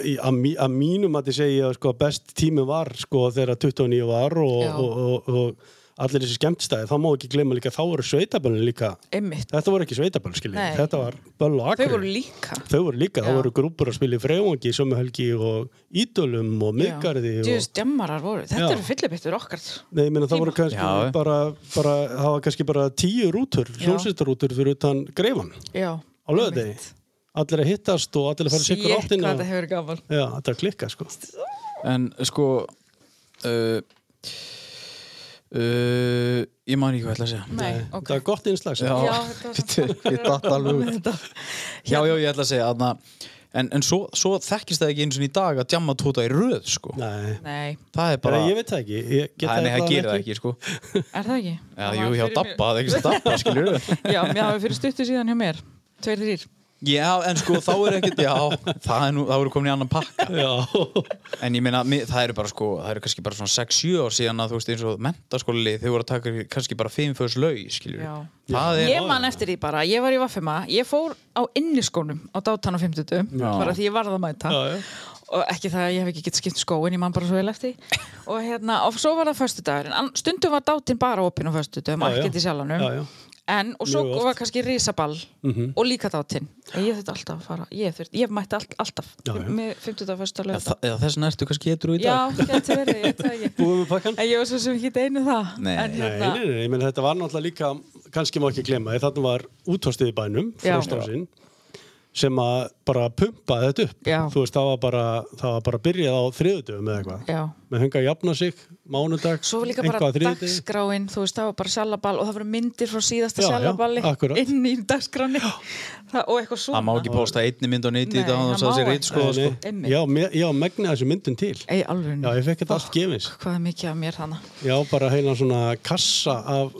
í- að mí- að mínum að ég segja sko, að best tími var sko, þegar 29 var og, Já. og, og, og, allir þessi skemmtstæði, þá má ekki glemma líka þá voru sveitaböllin líka Einmitt. þetta voru ekki sveitaböll, skiljið, Nei. þetta var böll og Þau voru akkur líka. þau voru líka, Já. þá voru grúpur að spila í freyvangi í sömu helgi og ídölum og miðgarði og... Djúðist djammarar voru. Þetta Já. eru fyllibittur okkar. Nei, ég meina það voru kannski Já. bara, bara, það var kannski bara tíu rútur, hljómsýttarútur fyrir utan greifan á Já. löðið. Allir að hittast og allir að fara Sér sikur hvað áttina. þetta hefur verið gaman. Já, þetta er klikka, sko. En sko uh, uh, Ég man ekki hvað ég ætla að segja Nei, ok. Þetta er gott innslag, sko. sem. Já, þetta var Bíddu, ég datt alveg út. Þetta- Já, já, ég ætla að segja aðna, En, en svo, svo þekkist það ekki eins og í dag að djamma tóta í röð sko. Nei, Nei, Það er bara, bara ég veit það ekki. Ég get Nei, nei, það allavega gerir það ekki sko. er það ekki? Já, Það jú, hjá var fyrir mér- Dabba, það er ekki sem Dabba, skilur Já, mér hafi fyrir stuttu síðan hjá mér. Tveir, þrýr. Já, en sko, þá er ekkert, já Það er nú, þá eru komin í annan pakka Já, En ég meina, mi- það eru bara sko, það eru kannski bara svona 6-7 ár síðan að þú veist eins og mentaskóli þau voru að taka kannski bara 5 föðs laug, skilur Já. Það er, Ég man eftir því bara, ég var í Vaffema, ég fór á inniskónum á dátan á 50 bara því ég varð að mæta Já, já. og ekki það að ég hef ekki gett skipt skóin, ég man bara svo vel eftir því. og hérna, og svo var það föstudagurinn, Ann- stundum var dátin bara opinn á föstudagum, já. ekki til sjálfanum Já, já. en, og svo Mjög oft. Mhm. var kannski risaball og líka dátin ég þurfti alltaf að fara, ég þurfti, ég mætti all, alltaf Já, já. með 50. að fyrsta lög Þa- Eða þess vegna ertu kannski getur í já, dag getur verið, ég veit það ekki Búið með pakkan? en ég var svo sem ekki deinu það Nei. en, hérna, Nei, nei, nei, ég meina þetta var náttúrulega líka, kannski má ekki glemma, þarna var útvastið í bænum, Já. fróstásinn, sem að bara pumpaði þetta upp. Já. Þú veist, það var bara, það var bara byrjað á þriðutöfum eða eitthvað. Já. Með hunga að jafna sig, mánudag, Svo var líka bara einhvað þriðutöf. dagskráin, þú veist, það var bara salaball og það voru myndir frá síðasta Já, já, salaballi akkurat. inn í dagskráni það, og eitthvað svona. Það má ekki posta einni mynd á nýti í Nei, dag og það það má sé ekki. reitt sko Nei, nei. Einmitt. Já, já, megna þessu myndum til. Ei, alveg. Já, ég fekk þetta allt gefins. Hvað er mikið af mér hana? Já, bara heila svona kassa af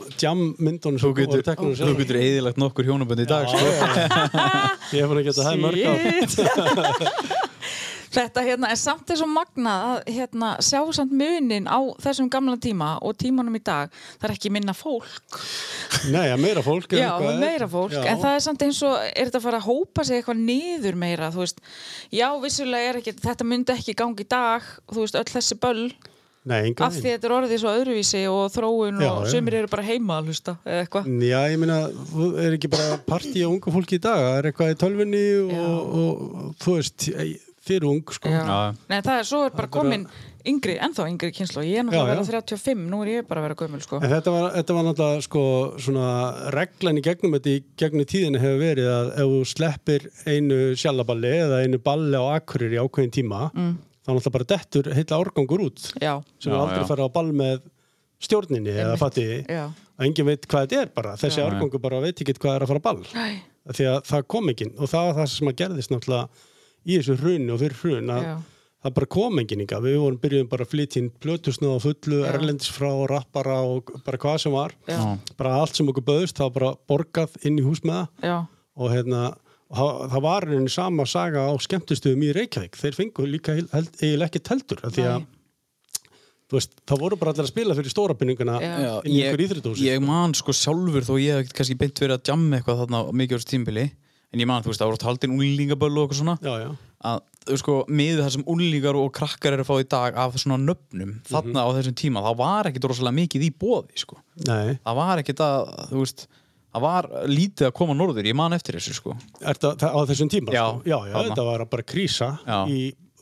Þú djammyndunum sem voru getur, teknar þú sjálf. getur eðilagt nokkur hjónabönd í dag sko Ég hef hann að geta það mörg á. Þetta hérna er samt eins og magna að hérna, sjá samt munin á þessum gamla tíma og tímanum í dag. Það er ekki minna fólk. Nei, já, meira fólk. er Já, eitthvað- það er meira fólk. Já. En það er samt eins og, er þetta að fara að hópa sig eitthvað niður meira, þú veist. Já, vissulega er ekki, þetta myndi ekki gangi í dag, þú veist, öll þessi böll Nei, engan af því þetta er orðið svo öðruvísi og þróun Já, Mm. og já. sumir eru bara heima að hlusta eða eitthvað. Já, ég meina, þú er ekki bara partí á ungu fólki í dag, það er eitthvað í tölvunni og, og, og þú veist, ég- þið eru ung, sko. Já. Já. Nei, það er svo er bara komin yngri, ennþá yngri kynslu ég er náttúrulega Já, að já. vera 35, nú er ég bara að vera gömul sko. En þetta var, þetta var náttúrulega, sko, svona reglan í gegnum þetta í gegnum tíðinu hefur verið að ef þú sleppir einu sjalaballi eða einu balli á akkurir í ákveðin tíma, mm. þá náttúrulega bara dettur heilla árgangur út Já, sem er Já, aldrei já. farið á ball með stjórninni eða fatti Já. að enginn veit hvað þetta er bara, þessi árgangur bara veit ekki hvað er að fara á ball. Æ, Af því að það kom enginn og það var það sem að gerðist náttúrulega í þessu hrun og fyrir hrun að Já. það bara kom enginn inga við vorum byrjuðum bara að flytja inn plötusnöð á fullu, Já. erlendis frá, rappara og bara hvað sem var Já. bara allt sem okkur böðust, það var bara borgað inn í hús með það já, og hérna, og það, það var einu sama saga á skemmtustöðum í Reykjavík þeir fengu líka heil- held- eiginlega ekki teltur af því að Nei. þú veist, það voru bara allir að spila fyrir stóra pinninguna Já. Já, inn í ég- einhver íþrjóðhúsi Ég man sko sjálfur þó ég hef ekkert kannski beint verið að jamma eitthvað þarna á mikið á þessu tímbili en ég man, þú veist, það voru oft haldin úlingaböll og eitthvað svona já, já, að, þú veist, sko, miðu það sem úlingar og krakkar eru að fá í dag af svona nöfnum þarna á þessum tíma, það var ekkert rosalega mikið í bóði, sko nei það var ekkert að, þú veist það var lítið að koma norður, ég man eftir þessu, sko Ertu að- á þessum tíma? Já, sko? já, já þarna. þetta var bara krísa Já. í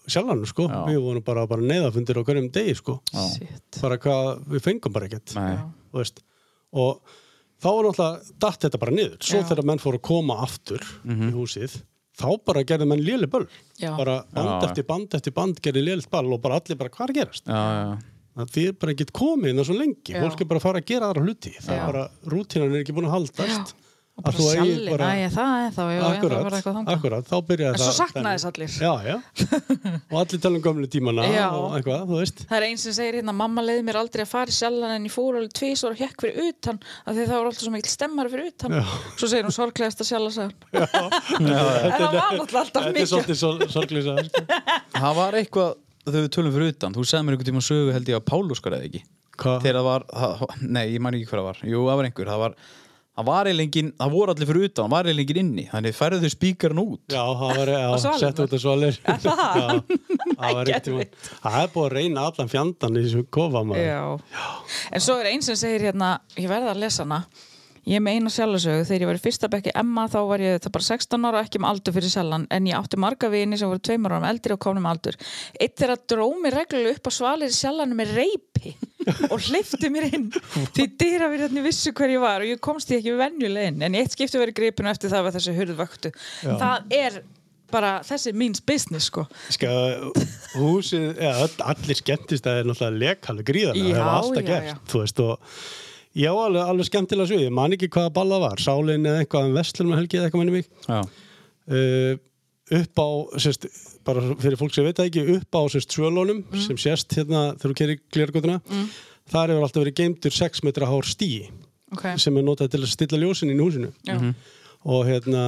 sjálfanum sko, Já. við vorum bara, bara neyðafundir á hverjum degi sko, shit bara hvað við fengum bara ekkert, Nei, þú veist og þá var náttúrulega datt þetta bara niður, svo Já. þegar menn fóru að koma aftur Mhm. í húsið, þá bara gerði menn léli böll, Já. bara band Já. eftir band eftir band gerði lélitt ball og bara allir bara hvað er að gerast, já, já, það því er bara ekkert komið innan svo lengi, Já. fólk er bara að fara að gera aðra hluti, Já. það er bara rútínan er ekki búin að haldast Já. og bara þú eigir sjallin, bara- æ, það er þá já, ég þarf að fara Akkurat, eitthvað þangað akkurat, þá byrjaði En það svo saknaði þess allir. Já, já, og allir tala um gömlu tímana Já. og eitthvað, þú veist Það er eins sem segir hérna, mamma leiði mér aldrei að fara í sjallan en ég fór alveg tvisvar og hekk fyrir utan af því það var alltaf svo mikil stemmari fyrir utan Já. svo segir hún sorglegasta sjallasagan en það var náttúrulega alltaf Þetta er mikil svolítið sor- sorglýsa sko. það var eitthvað þau tölum fyrir utan, þú segði mér einhvern tíma sögu held ég að Pálu skar eða ekki Hvað? þegar það var, það, nei ég man ekki hver það var jú það var einhver, það var það var eiginlega enginn, það voru allir fyrir utan, það var eiginlega enginn inni þannig færðu þau spíkarinn út Já, það Og var, já, svalirnar. sett út að svalir Já, það var Geðveikt. ekkert tíma Það er búið að reyna allan fjandan í þessu kofa maður Já. En svo er eins sem segir hérna, ég verða að lesa hana. Ég er með eina sjálfsögu, þegar ég var í fyrsta bekki Emma þá var ég þetta bara 16 ára og ekki um aldur fyrir sjálfan en ég átti marga vini sem voru tveimur árum eldri og komnum aldur. Eitt þeirra dró mér reglulega upp á svalir sjálfan með reypi og hleyfti mér inn því dýra við hérna vissu hver ég var og ég komst því ekki venjuleg inn en í eitt skipti verið gripinu eftir það var þessi hurðvöktu. Það er bara þessi míns business sko. Ska, húsið, já, öll- allir skemmtist að það er náttúrulega lekalur gríðarlega Já, það hefur alltaf já, gert, já. þú veist og já, alveg, alveg skemmtilega sögðu, ég man ekki hvaða balla var sálin eða eitthvað, en vestlunum helgið eitthvað minni mig já, uh, upp á sérst, bara fyrir fólk sem veit það ekki upp á sérst, svölunum sem sérst hérna þegar þú kerir glergotuna þar hefur alltaf verið geimdur 6 metra hár stíi Okay. sem er notað til að stilla ljósin inn í húsinu Já. Mhm. og hérna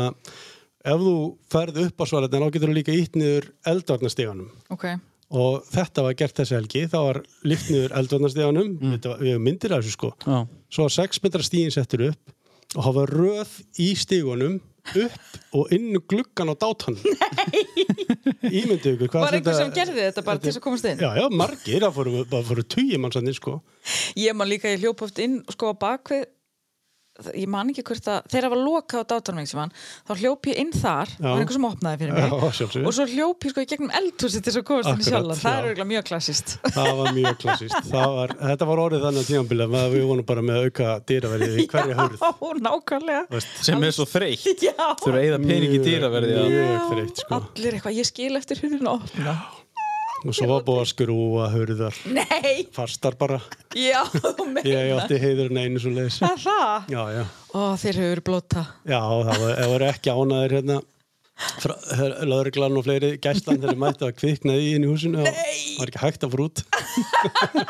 ef þú ferð upp á svalarnar þá getur þú líka ítt niður eldvarnasteganum Ok, og þetta var gert þessi helgi þá var lyft niður eldvarnasteganum mm. við hefum myndir af þessu sko já, svo var 6 metra stíin settur upp og hafa röð í stígunum upp og inn um gluggan á dátan Ímyndið ykkur hvað Var einhver sem gerði þetta bara til þess að komast inn? Já, já, margir, það fóru, það fóru tugi mannsannir sko Ég man líka, ég hljópa oft inn sko á bakvið ég man ekki hvort að þegar það var lokað á dátanum sem hann, þá hljóp ég inn þar Já. það var einhver sem opnaði fyrir mig Já, sjálfsögðu. og svo hljóp ég sko í gegnum eldhúsi til þess að komast inn í Akkurat, sjálfan, það já. er auðvitað mjög klassist Það var mjög klassist. Það var, þetta var orðið þannig að tímanbila með að við vonum bara með auka dýraverðið í hverja hörð. nákvæmlega Veist, sem er svo þreytt Já. þurfa að eyða pening í dýraverði að- Mjög þreytt sko. allir eitthvað, ég skil eftir hurðin og opna Og svo var búið að skrúa hörðar nei, fastar bara. já, þú Ég meina átti heiðurinn einu svo leiðis. það er það Já, já. og þeir hefur verið blóta Já, það var- það voru ekki ánæðir hérna. Löðurglan og fleiri gæslan þegar mættu að kviknaði í inn í húsinu. Nei! Það var ekki hægt að fór út.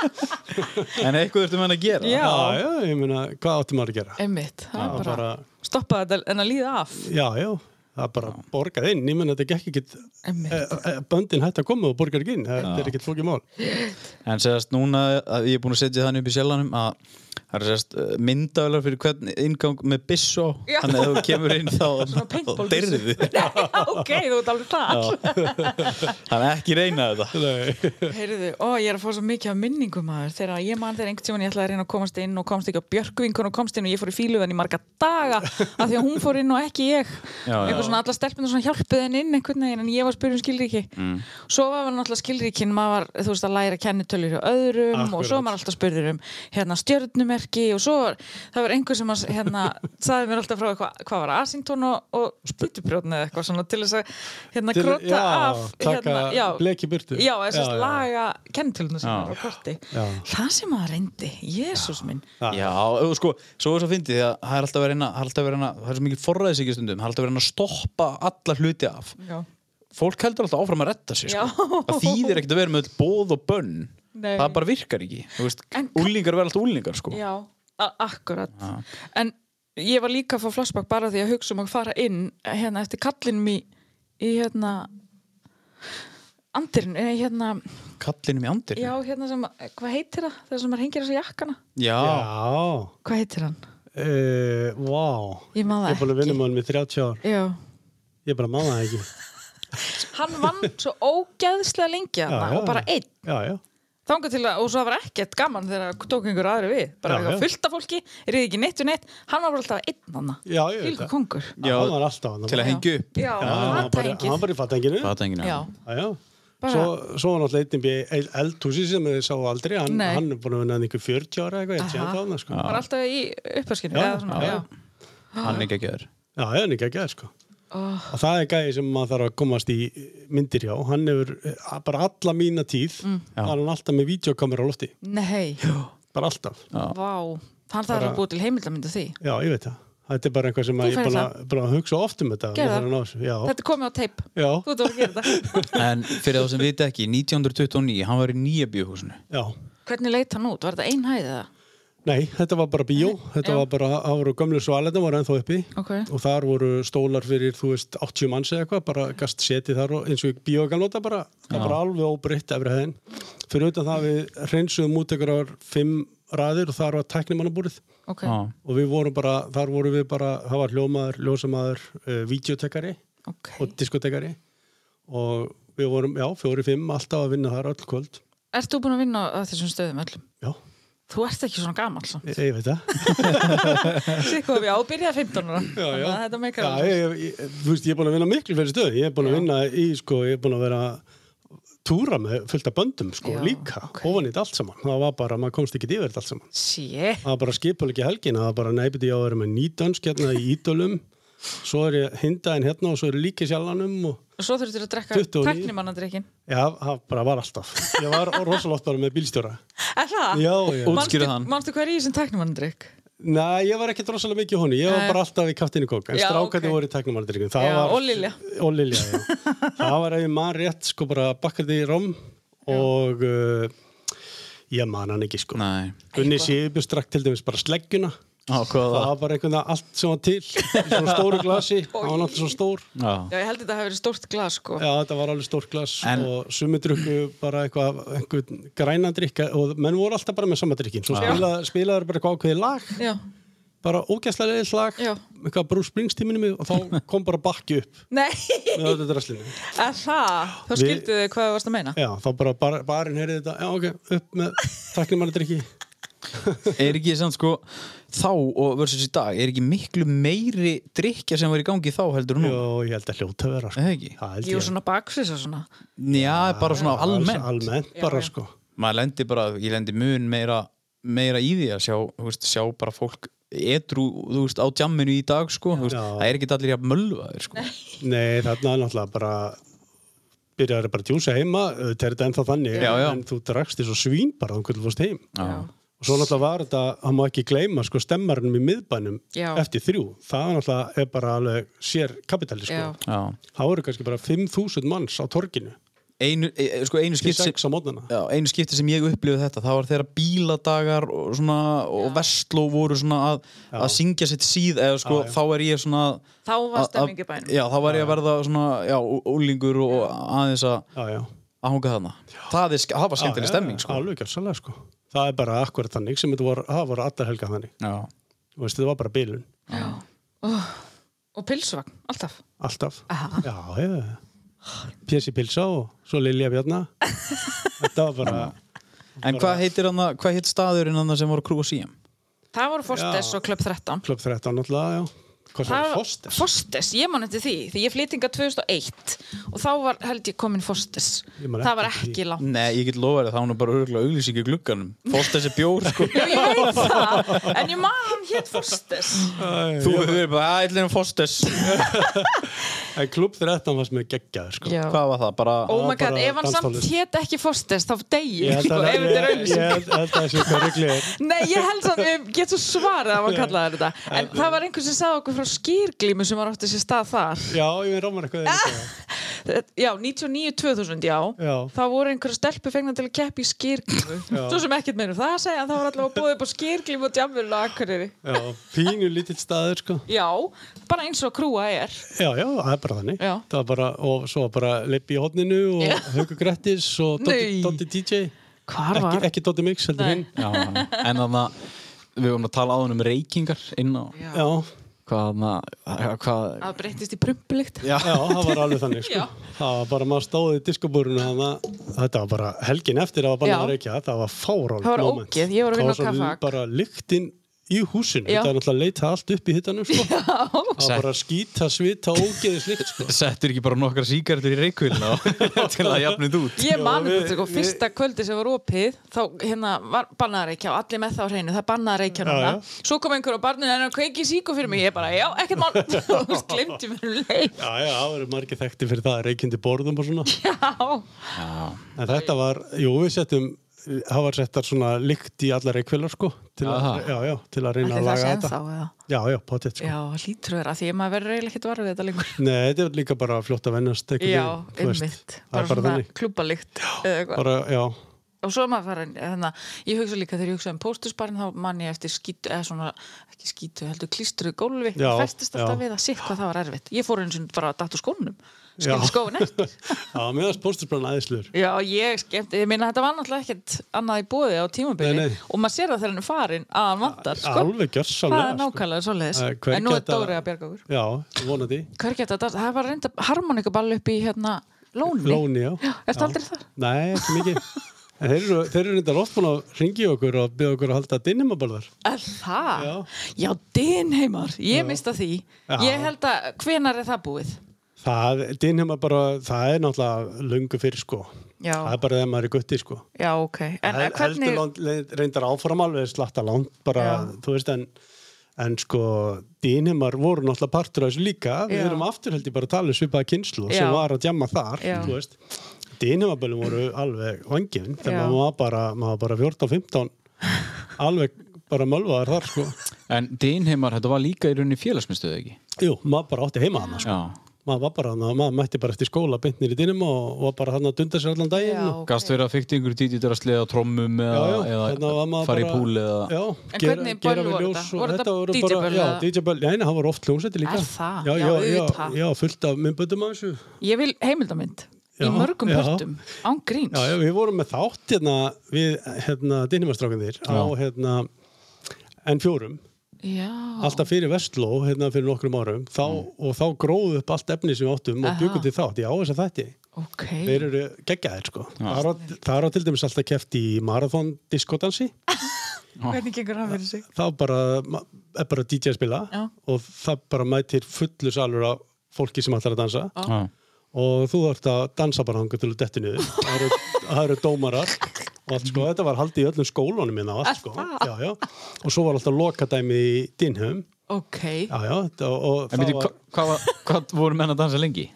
en eitthvað þurftum hann að gera Já. Já, já, ég meina, hvað áttum maður að gera? einmitt, það Það er bara, bara, stoppa þetta en að líða af já, já, það bara borgað inn, ég meina þetta gekk ekkit, einmitt, e, e, böndin hætti að koma og borgar ekki inn, þetta er ekkit flókið mál. En segast núna að ég er búin að setja þannig upp í sjálfanum að það er segast myndavelar fyrir hvern ingang með byssó Já. þannig að ef þú kemur inn þá, þá paintball-byssu. deyrðu þið Já, ok, þú ert alveg þar þannig að ekki reyna þetta Heyrðu, ó, ég er að fá svo mikið af minningum aður þegar ég man þegar einhvern tímann ég ætlaði að reyna að komast inn og komst ekki á Björkvinkun og komst inn og ég fór í fíluðan í marga daga af því að hún fór inn og ekki ég Já, já. eitthvað svona alla stelpunar svona hjálpuð henn inn einhvern veginn en ég var spyrjum skilríki mm. svo var maður náttúrulega skilríkin maður var, þú veist að læra kennitölur hjá öðrum og svo Akkurat. var maður alltaf spurður um hérna stjörnumerki og svo var, það var einhver sem að, hérna sagði mér alltaf frá eitthvað, hvað var Asington og, og Títuprjótni eða eitthvað svona til þess að hérna Til- gróta já, af taka hérna, já, blek í burtu. já, eða Já, sérst já. laga kennitölunar sem var á korti Já. það sem maður reyndi, jésús minn Já. Já, og sko, svo er svo fyndið því að það er alltaf verið að, það er alltaf verið að, það er svo mikið forræðisíkja stundum, það er alltaf verið að stoppa alla hluti af. já, Fólk heldur alltaf áfram að retta sig, sko. Já. Það þýðir ekkert að vera með öll bóð og bönn. Nei. Það bara virkar ekki. Þú veist, En- úlingar verða alltaf úlingar, sko. já a- akkurat en ég var líka að fá flashback bara því að hugsa um að fara inn hérna eftir kallinum í, í hérna andirinn, eh, hérna Kallinum um í andir. já, hérna sem, hvað heitir það? það sem maður hengir þessu jakkana, Já. Já, hvað heitir hann? e, vá, ég maður ég er það búin að vinna með hann með 30 ár, ekki já ég bara manna það ekki. hann vann svo ógeðslega lengi Já, hann já, og bara já. einn Já, já, Þanga til að, og svo það var ekkert gaman þegar það tók einhver aðri við, bara Já, eitthvað já. fullt af fólki ríði ekki neitt við neitt, hann var bara alltaf einn hann, já, ég veit fylgur það. kongur Já, Hann var alltaf hann. Til að hengja upp. Já, Já, hann var bara- fatahengið. hann var bara í fatenginu. Það er enginn Já, Já, já. Bara- Svo, svo var náttúrulega einn í el- eldhúsi sem ég sá aldrei, hann, Nei. hann er búin að vinna hann ykkur 40 ára eitthvað, ég sé Aha. hann þarna sko. hann var alltaf í upphaskinu Já, eða svona, já. já, Hann er ekki að gera. Já, það er ekki að sko. Oh. Og það er gæði sem maður þarf að komast í myndir hjá. Hann hefur eh, bara alla mína tíð, Mm. var hann alltaf með videokamera á lofti. Nei, Bara alltaf. vá Hann þarf að búið til heimildamyndu því Já, ég veit það. Þetta er bara einhvað sem Þú ég er færð búin að, búin að hugsa oft um þetta. Gerðu Ég þarf það. að ná þessu. Já, Þetta er komið á teip, já, þú ert að fara að gera þetta En fyrir þá sem vita ekki, 1929, hann var í nýja bíóhúsinu. já. Hvernig leit hann út, var þetta einhæðið það? Nei, þetta var bara bíó. Þetta Já. var bara, það voru gömlu svaletna voru ennþá uppi. Ok, Og þar voru stólar fyrir, þú veist, 80 manns eða eitthvað, bara gast setið þar og eins og bíó ekki að nota bara, það var bara alveg óbreytt efri hæðin. Fyrir utan það við hreinsuðum út ykkur ár fimm ræðir og þar var tæknimannabúrið ok, Já. og við vorum bara, þar voru við bara, það var hljómaður, ljósamaður, uh, videotekari ok og diskotekari og við vorum, já, fjóri fimm alltaf að vinna þar öll kvöld. Ert þú búin að vinna á þessum stöðum öllum? Já, Þú ert ekki svona gamall svo. ég, ég veit það. Sikku að við ábyrjaði 15 ára já, Þannig já. að þetta meikar já, alveg ég, ég, ég, þú veist, ég er búin að vinna miklu fyrir stöð ég er búin að vinna í, sko, ég er búin að vera túra með fullt af böndum, sko, Já, líka ok. ofan í þetta allt saman, það var bara, maður komst ekki yfir þetta allt saman, Sjé, það var bara skipulegi helgin það var bara neybiti á að vera með nýdönsk hérna í ídölum, svo er ég hindaðin hérna og svo er ég líka í sjálfanum og svo þurftur að drekka 29. tæknimannadrykkin já, það bara var alltaf ég var rosalótt bara með bílstjóra Er það? já, já, Útskýrðu hann. Manstu hver í þessum tæknimannadrykk? Nei, ég var ekkert rosalega mikið í honu, ég var Nei. bara alltaf í kaftinu kók, en Já, strákandi ok. voru í teknumaldryggjum. Já, og Lilja. Og Lilja, já. það var ef ég man rétt, sko bara bakkarði í róm og uh, ég man hann ekki, sko. Nei. Gunni Sýbjörn strakk til dæmis bara sleggjuna, Á, hvað það var það? var bara einhvern veginn allt sem var til, í svona stóru glasi, það var náttúrulega svona stór. Já. Já, ég held að þetta hafi verið stórt glas sko Já, þetta var alveg stórt glas En- og sumi drukku bara eitthvað, einhvern grænan drikka og menn voru alltaf bara með sama drikkin, svo spilaði, spilaði bara eitthvað ákveðið lag Já, bara ógæslega leiðis lag Já. eitthvað Bruce Springsteen mig og þá kom bara bakki upp Nei, með öllu draslinu er það? Þá Við- skildu þið hvað þú varst að meina já, þá bara bar, barinn heyrði þetta já, ok, upp með takknum hann að drikki er ekki samt sko þá og versus í dag, er ekki miklu meiri drikja sem var í gangi þá heldur hún Jó, ég held að hljóta að vera sko. eða ekki? Það held Jú, ég. svona baksvisa svona Já, bara svona Alls- almennt Almennt Já, bara já. sko maður lendir bara, ég lendir mun meira meira í því að sjá, þú veist, sjá bara fólk edru, þú veist, á djamminu í dag sko, þú veist, Já. það er ekki allir að mölva þér sko, Nei, þarna er náttúrulega bara byrjaður bara að djúsa heima uh, þetta er þetta ennþá þannig Já, já. en þú drakst því svo svín bara þannig hvernig þú fórst heim Já, og svo náttúrulega var þetta, hann má ekki gleyma sko stemmarnum í miðbænum Já. eftir þrjú það náttúrulega er bara alveg sér kapitali sko, já, já það voru kannski bara 5.000 manns á torginu einu, e, sko, einu til skipti sem, 6 á mótnana já, einu skipti sem ég upplifði þetta, það var þegar bíladagar og svona, og vestló voru svona að, að syngja sitt síð eða sko, Já, já. þá er ég svona Þá var að- að- stemming í bænum. Já, þá var ég að verða svona, já, úlingur og og aðeins að já, já. að hanga þarna það, er, sk- það var skemmtileg stemming sko. alveg gjörsalega sko það er bara akkurat þannig sem þetta voru, það voru allar helga þannig já, Þú veist, þetta var bara bílun, já. Oh, Og pilsvagn, alltaf alltaf Aha. já, hefur Pési Pilsá og svo Lilja Bjarna þetta var bara en hvað heitir hann hvað heit staðurinn hann sem voru krú og síðan Það voru Fostes Já. og Club 13 klubb 13 náttúrulega, já hvað sem Það var var- Foster Fostes, ég man eftir því Því ég flytinga 2001 Og þá var held ég komin Fostes Ég man Það var ekki eftir ekki langt Nei, ég get lofa þér að það var bara örgulega auglýsing í glugganum Fórst þessi bjór, sko Já, Ég veit það, en ég man hann hétt Fostes Þú hefur verið bara, að ætlum fórstes en klubb 13 var sem er geggjaður sko Hvað var það? Bara Oh my Það var god, bara ef hann samt danstónlist. hétt ekki Fostes Þá degi Ég ég, held sko, að ef þetta er ég- auðvitað ég held- held að það sé hvað ruglið er. Nei, ég held að við getum svarað að maður kallaði þetta En það var einhver sem sagði okkur frá skýrglímu sem var átti sér stað þar Já, ég er rámar eitthvað eða eitthvað. Já, 99-2000, já Já. Það voru einhverja stelpu fengna til að keppa í skýrglímu Já. Svo sem ekkert meður það að segja en Það var allavega búið upp á skýrglímu og djamurinn á Akureyri Já, pínu lítill staður sko. Já, bara eins og krúa er Já, já, það er bara þannig. Já. Það var bara, og svo var bara Leipi í hodninu Já. og Haukur Grettis og Doddi Nei. Doddi DJ. Hvar Ekki, var? ekki Doddi Mix, heldur Nei. hinn. Já, en þannig að Við vorum að tala áðan um reykingar inn á Já. Já, Hvað hann Hvað Það breyttist í prumpulikt Já, já, það var alveg þannig sko. Já. Það var bara, maður stóði í diskobúrinu þannig að þetta var bara helgin eftir að var Já. bannað að reykja. Það var fárálegt Það var moment. ógeð, ég var að vinna á Það var Kafak. svo bara lyktin í húsinu. Já. Þetta er náttúrulega að leita allt upp í hittanum sko. Já. Það Sett. var bara skýta, svita, ógeðislikt sko. settur ekki bara nokkra síkartur í reykvílina Til að jafnið út Ég man Já, við- þetta sko, við- fyrsta kvöldi sem var opið þá hérna var bannaðar reykja og allir með það á hreinu, það bannaðar reykja núna já. svo kom einhver á barninu en hann kveiki síku fyrir mig ég bara, já, ekkert mál, þú veist, glimti mér um leið Já, já, það verður margir þekkti fyrir það, reykjandi borðum og svona. Já, En þetta var, jú, við settum, það var settar svona lykt í alla reykvelar, sko, til að, Aha. já, já, til að reyna allir það að laga sem þá þetta. eða Já, já, potið, sko. Já, hlýtur vera, því að maður verður eiginlega ekkert varfið þetta lengur Nei, þetta er líka bara fljótt að vennast, einhvern Já, veginn, þú veist. einmitt, Það bara er bara svona þannig. klubbalikt eða eitthvað. Bara, já, og svo er maður farin þannig að ég hugsa líka þegar ég hugsa um póstusbarinn þá man ég eftir skýtu eða svona ekki skýtu heldur klístru gólfi Já, festist alltaf já. við að sitt hvað það var erfitt ég fór eins og bara að datta úr skónum Já. skemmt skóin eftir já, meðast póstursbrann aðeinsluður. já ég skemmt ég minna þetta var náttúrulega ekkert annað í bóði á tímabili Nei, nei. og maður sér það þegar hann er farin að hann vantar sko Alveg það gjörsalega, er nákvæmlega svoleiðis Eh, hver en nú er geta- Dóri að bjarga okkur Já, vonandi. hver geta þetta það er bara reynda harmonikaball upp í hérna lóni, Lóni, já. ertu Já. aldrei þar? Nei, ekki mikið. En þeir eru, þeir eru reyndar oft búin að ringi okkur og byggja okkur að halda dinnumabalðar. Er það? Já, já dinheimar, ég mista því. Já. Ég held að, hvenar er það búið? Það, dinheima bara, það er náttúrulega lungu fyrir, sko. Já. Það er bara þegar maður er gutti, sko. Já, ok. En Hel, hvernig, heldur langt, le- reyndar áfram alveg slatta langt bara, Já. þú veist, en, en sko dýnimar voru náttúrulega partur af þessu líka, við Já. erum aftur held ég bara að tala um svipaða kynslu Já. sem var að djamma þar, Já. þú veist dýnimabölum voru alveg vangin Já. þegar maður var bara, maður var bara 14-15 alveg bara mölvaðar þar sko, En Dinheimar, þetta var líka í rauninni félagsmyndstöðu ekki jú, maður bara átti heima hana, sko. Já, maður var bara hana, maður mætti bara eftir skóla, byndnir í dýnum og var bara hana að dunda sér allan daginn Já. og, gast verið að fykti einhverju dítið að sleða á trommum Já, eða, já, hérna var eða maður fara í bara- púl eða Já, En gera- hvernig gera böll við voru ljós þetta? og Voru þetta voru DJ bara- böll Já, eða? DJ böll, já, það voru oft hljómsætti líka Er það? Já, Já, já, já, auðvitað. já, fullt af myndböndum af þessu ég vil heimildamind í Já, mörgum já. pörtum, án gríns. Já, já, við vorum með þátt hérna við, hérna, Dinimastrákandir á, hérna, N4 Já. alltaf fyrir Vestló, hérna, fyrir nokkrum árum þá, og þá gróðu upp allt efni sem við áttum og Aha. bjögum til þátt, já, þess að þætti ok. Þeir eru geggjaðir, sko Það er á- það er á til dæmis alltaf keft í marathon diskodansi Hvernig gengur hann fyrir sig? þá bara ma- er bara DJ að spila Já. og það bara mætir fullu salur af fólki sem ætlar að dansa og þú ert að dansa bara hanga til að detti niður það eru, það eru dómarar og allt sko, þetta var haldið í öllum skólunum minna og allt sko, já, já og svo var alltaf lokadæmi í Dinhum Ok. já, já, þetta- og En það veitir, var hva- hvað var- hvað voru menn að dansa lengi?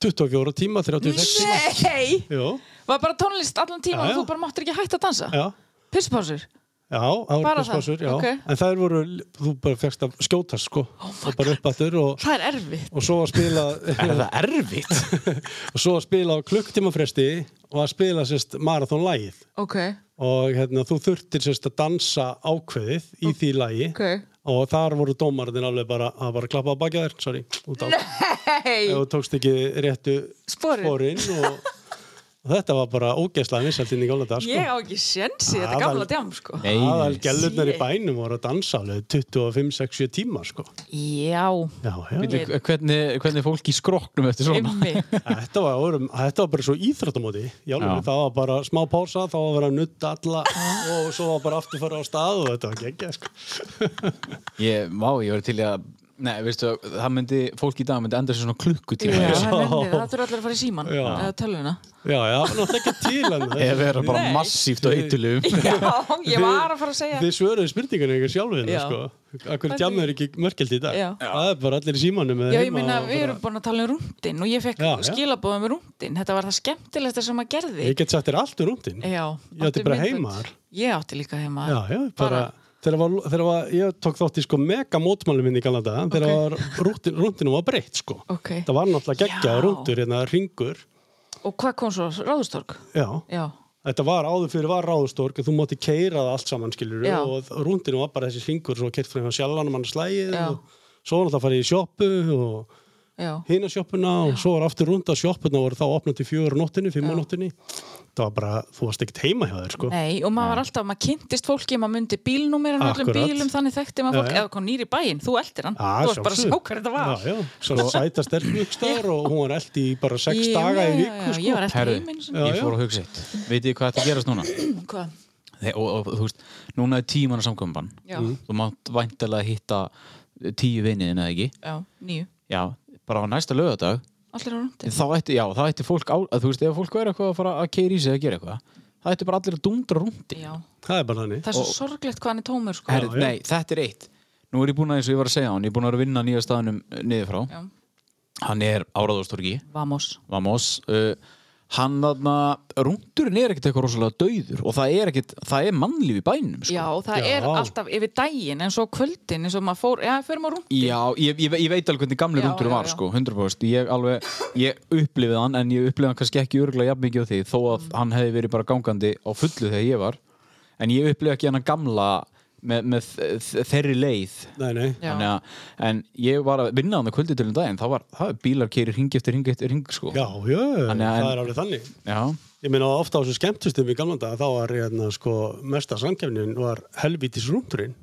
24 tíma, 36 tíma Nei! Jú, Var bara tónlist allan tíma Já, já. og þú bara máttir ekki hætta að dansa? já Pissupásur? Já, það voru Bara það? plásspásur, já. Ok. Oh En þær voru, þú bara fegst að skjóta, sko. og bara upp aftur og, Það er erfitt. og svo að spila... Er það erfitt? og svo að spila á klukktímafresti og að spila sérst marathónlægið Ok. og hérna, þú þurftir sérst að dansa ákveðið í því lægi Ok. og þar voru dómarinn alveg bara að bara klappa að bakja þér, sorry, út á ef Hei! þú tókst ekki réttu Sporin. sporin og, og þetta var bara ógeðslega vinsælt inn í gamla dag sko. Ég á ekki sénsi þetta Aðal- gamla djám, sko. Nei, aðal gælurnar í Shit. bænum voru að dansa alveg 25-60 tíma sko. Já. já, já. Veitir, hvernig, hvernig er fólk í skrokknum eftir svona? Ymmi. Þetta, var, vorum- þetta var bara svo íþróttamóti já, Já. það var bara smá pása þá var að vera að nutta alla og svo var bara aftur fara á stað og þetta var geggja sko. Ég, vá, ég var til í að Nei, veistu, það myndi, fólk í dag myndi enda sér svona Já, klukkutíma það myndi, það þurfa allir að fara í síman Já. eða tölvuna. já, já, það var náttúrulega ekki til en Ef það- vera bara Nei. massíft á eitulum Já, ég var að fara að segja. þið svöruðu spurningunni ykkur sjálf hérna Já. sko. akkur tjammur ekki mörgjöld í dag Já. það er bara allir í símanum eða Já, ég heima meina, og við bara- erum búin að tala um rúndin og ég fekk Já, já. skilabóðum um rúndin. Þetta var það skemmtilegsta sem maður gerði. ég get sagt þér allt um rúndin Já. Ég átti bara heimaðar. Ég átti líka heima. já, já, bara Þegar var, þegar var, ég tók þátt í sko mega mótmælum minn í Galanda, þegar okay. var rúndin, rúndinum var breytt sko. Ok. Það var náttúrulega geggjað Já. rúndur, hérna ringur, Og hvað kom svo? Ráðustorg? já, Já. Þetta var áður fyrir var ráðustorg þú mátti keira það allt saman skilur Já. og rúndinu var bara þessi hringur svo keirt fram á sjallanum hann slægið Já. og svo var alltaf að fara í sjoppu og Já. hina sjoppuna og svo var aftur rúnda sjoppuna og voru þá opnað til fjögur á nóttinni, fimm á nóttinni það var bara, þú varst ekkert heima hjá þér sko Nei, og maður var alltaf, maður kynntist fólki, maður myndi bílnúmerin á öllum Akkurat. bílum, þannig þekkti maður fólk, Já, já. eða kom nýri bæinn, þú eldir hann, Ah, þú varst bara að sjá sjálfsögðu. hver þetta var. já, já. Svona sæta sterkvöxtar og hún var eld í bara sex Ég- daga í já, viku já, sko Ég var eftir Herru, heiminn sem... Já, ég já. fór að hugsa eitt Veit ég hvað þetta gerast núna? Hvað? Þe- og, og þú veist, núna er tíman að samkvæmban Já. Mhm. Mm. þú mátt væntalega hitta tíu viniðin eða ekki Já, nýju. já, bara á næsta lögadag Allir á rúndin. þá ætti, já, þá ætti fólk á, að, þú veist, ef fólk væri eitthvað að fara að keira í sig að gera eitthvað það ætti bara allir að dundra rúndi Já. það er bara þannig Það er svo sorglegt hvað hann er tómur, sko. Herri, nei, þetta er eitt nú er ég búin að eins og ég var að segja á hann ég er búin að vera að vinna nýja staðnum eh, niður frá Já. hann er áraðurstorgi Vamos. Vamos uh, hann þarna, rúndurinn er ekkert eitthvað rosalega döður og það er ekkert, það er mannlíf í bænum sko. Já, það Já. er alltaf yfir daginn, en svo á kvöldin, eins og maður fór, já, förum á rúndin. Já, ég, ég, ég veit alveg hvernig gamli Já, rundur já, var já. sko, 100% ég, alveg, ég upplifið hann en ég upplifið hann kannski ekki örgulega jafn mikið á því þó að Mm. hann hefði verið bara gangandi á fullu þegar ég var en ég upplifið ekki hann gamla með, með þ- þ- þeirri leið nei, nei. Já. Þannig að, en ég var að vinna hann að kvöldi til um daginn, þá var það var bílar keiri ringi eftir ringi eftir ringi sko Já, já, Þannig að- það er alveg þannig Já. Ég meina ofta á þessu skemmtustum í gamla dag þá var hérna sko mesta samkefnin var helvítis rúndurinn.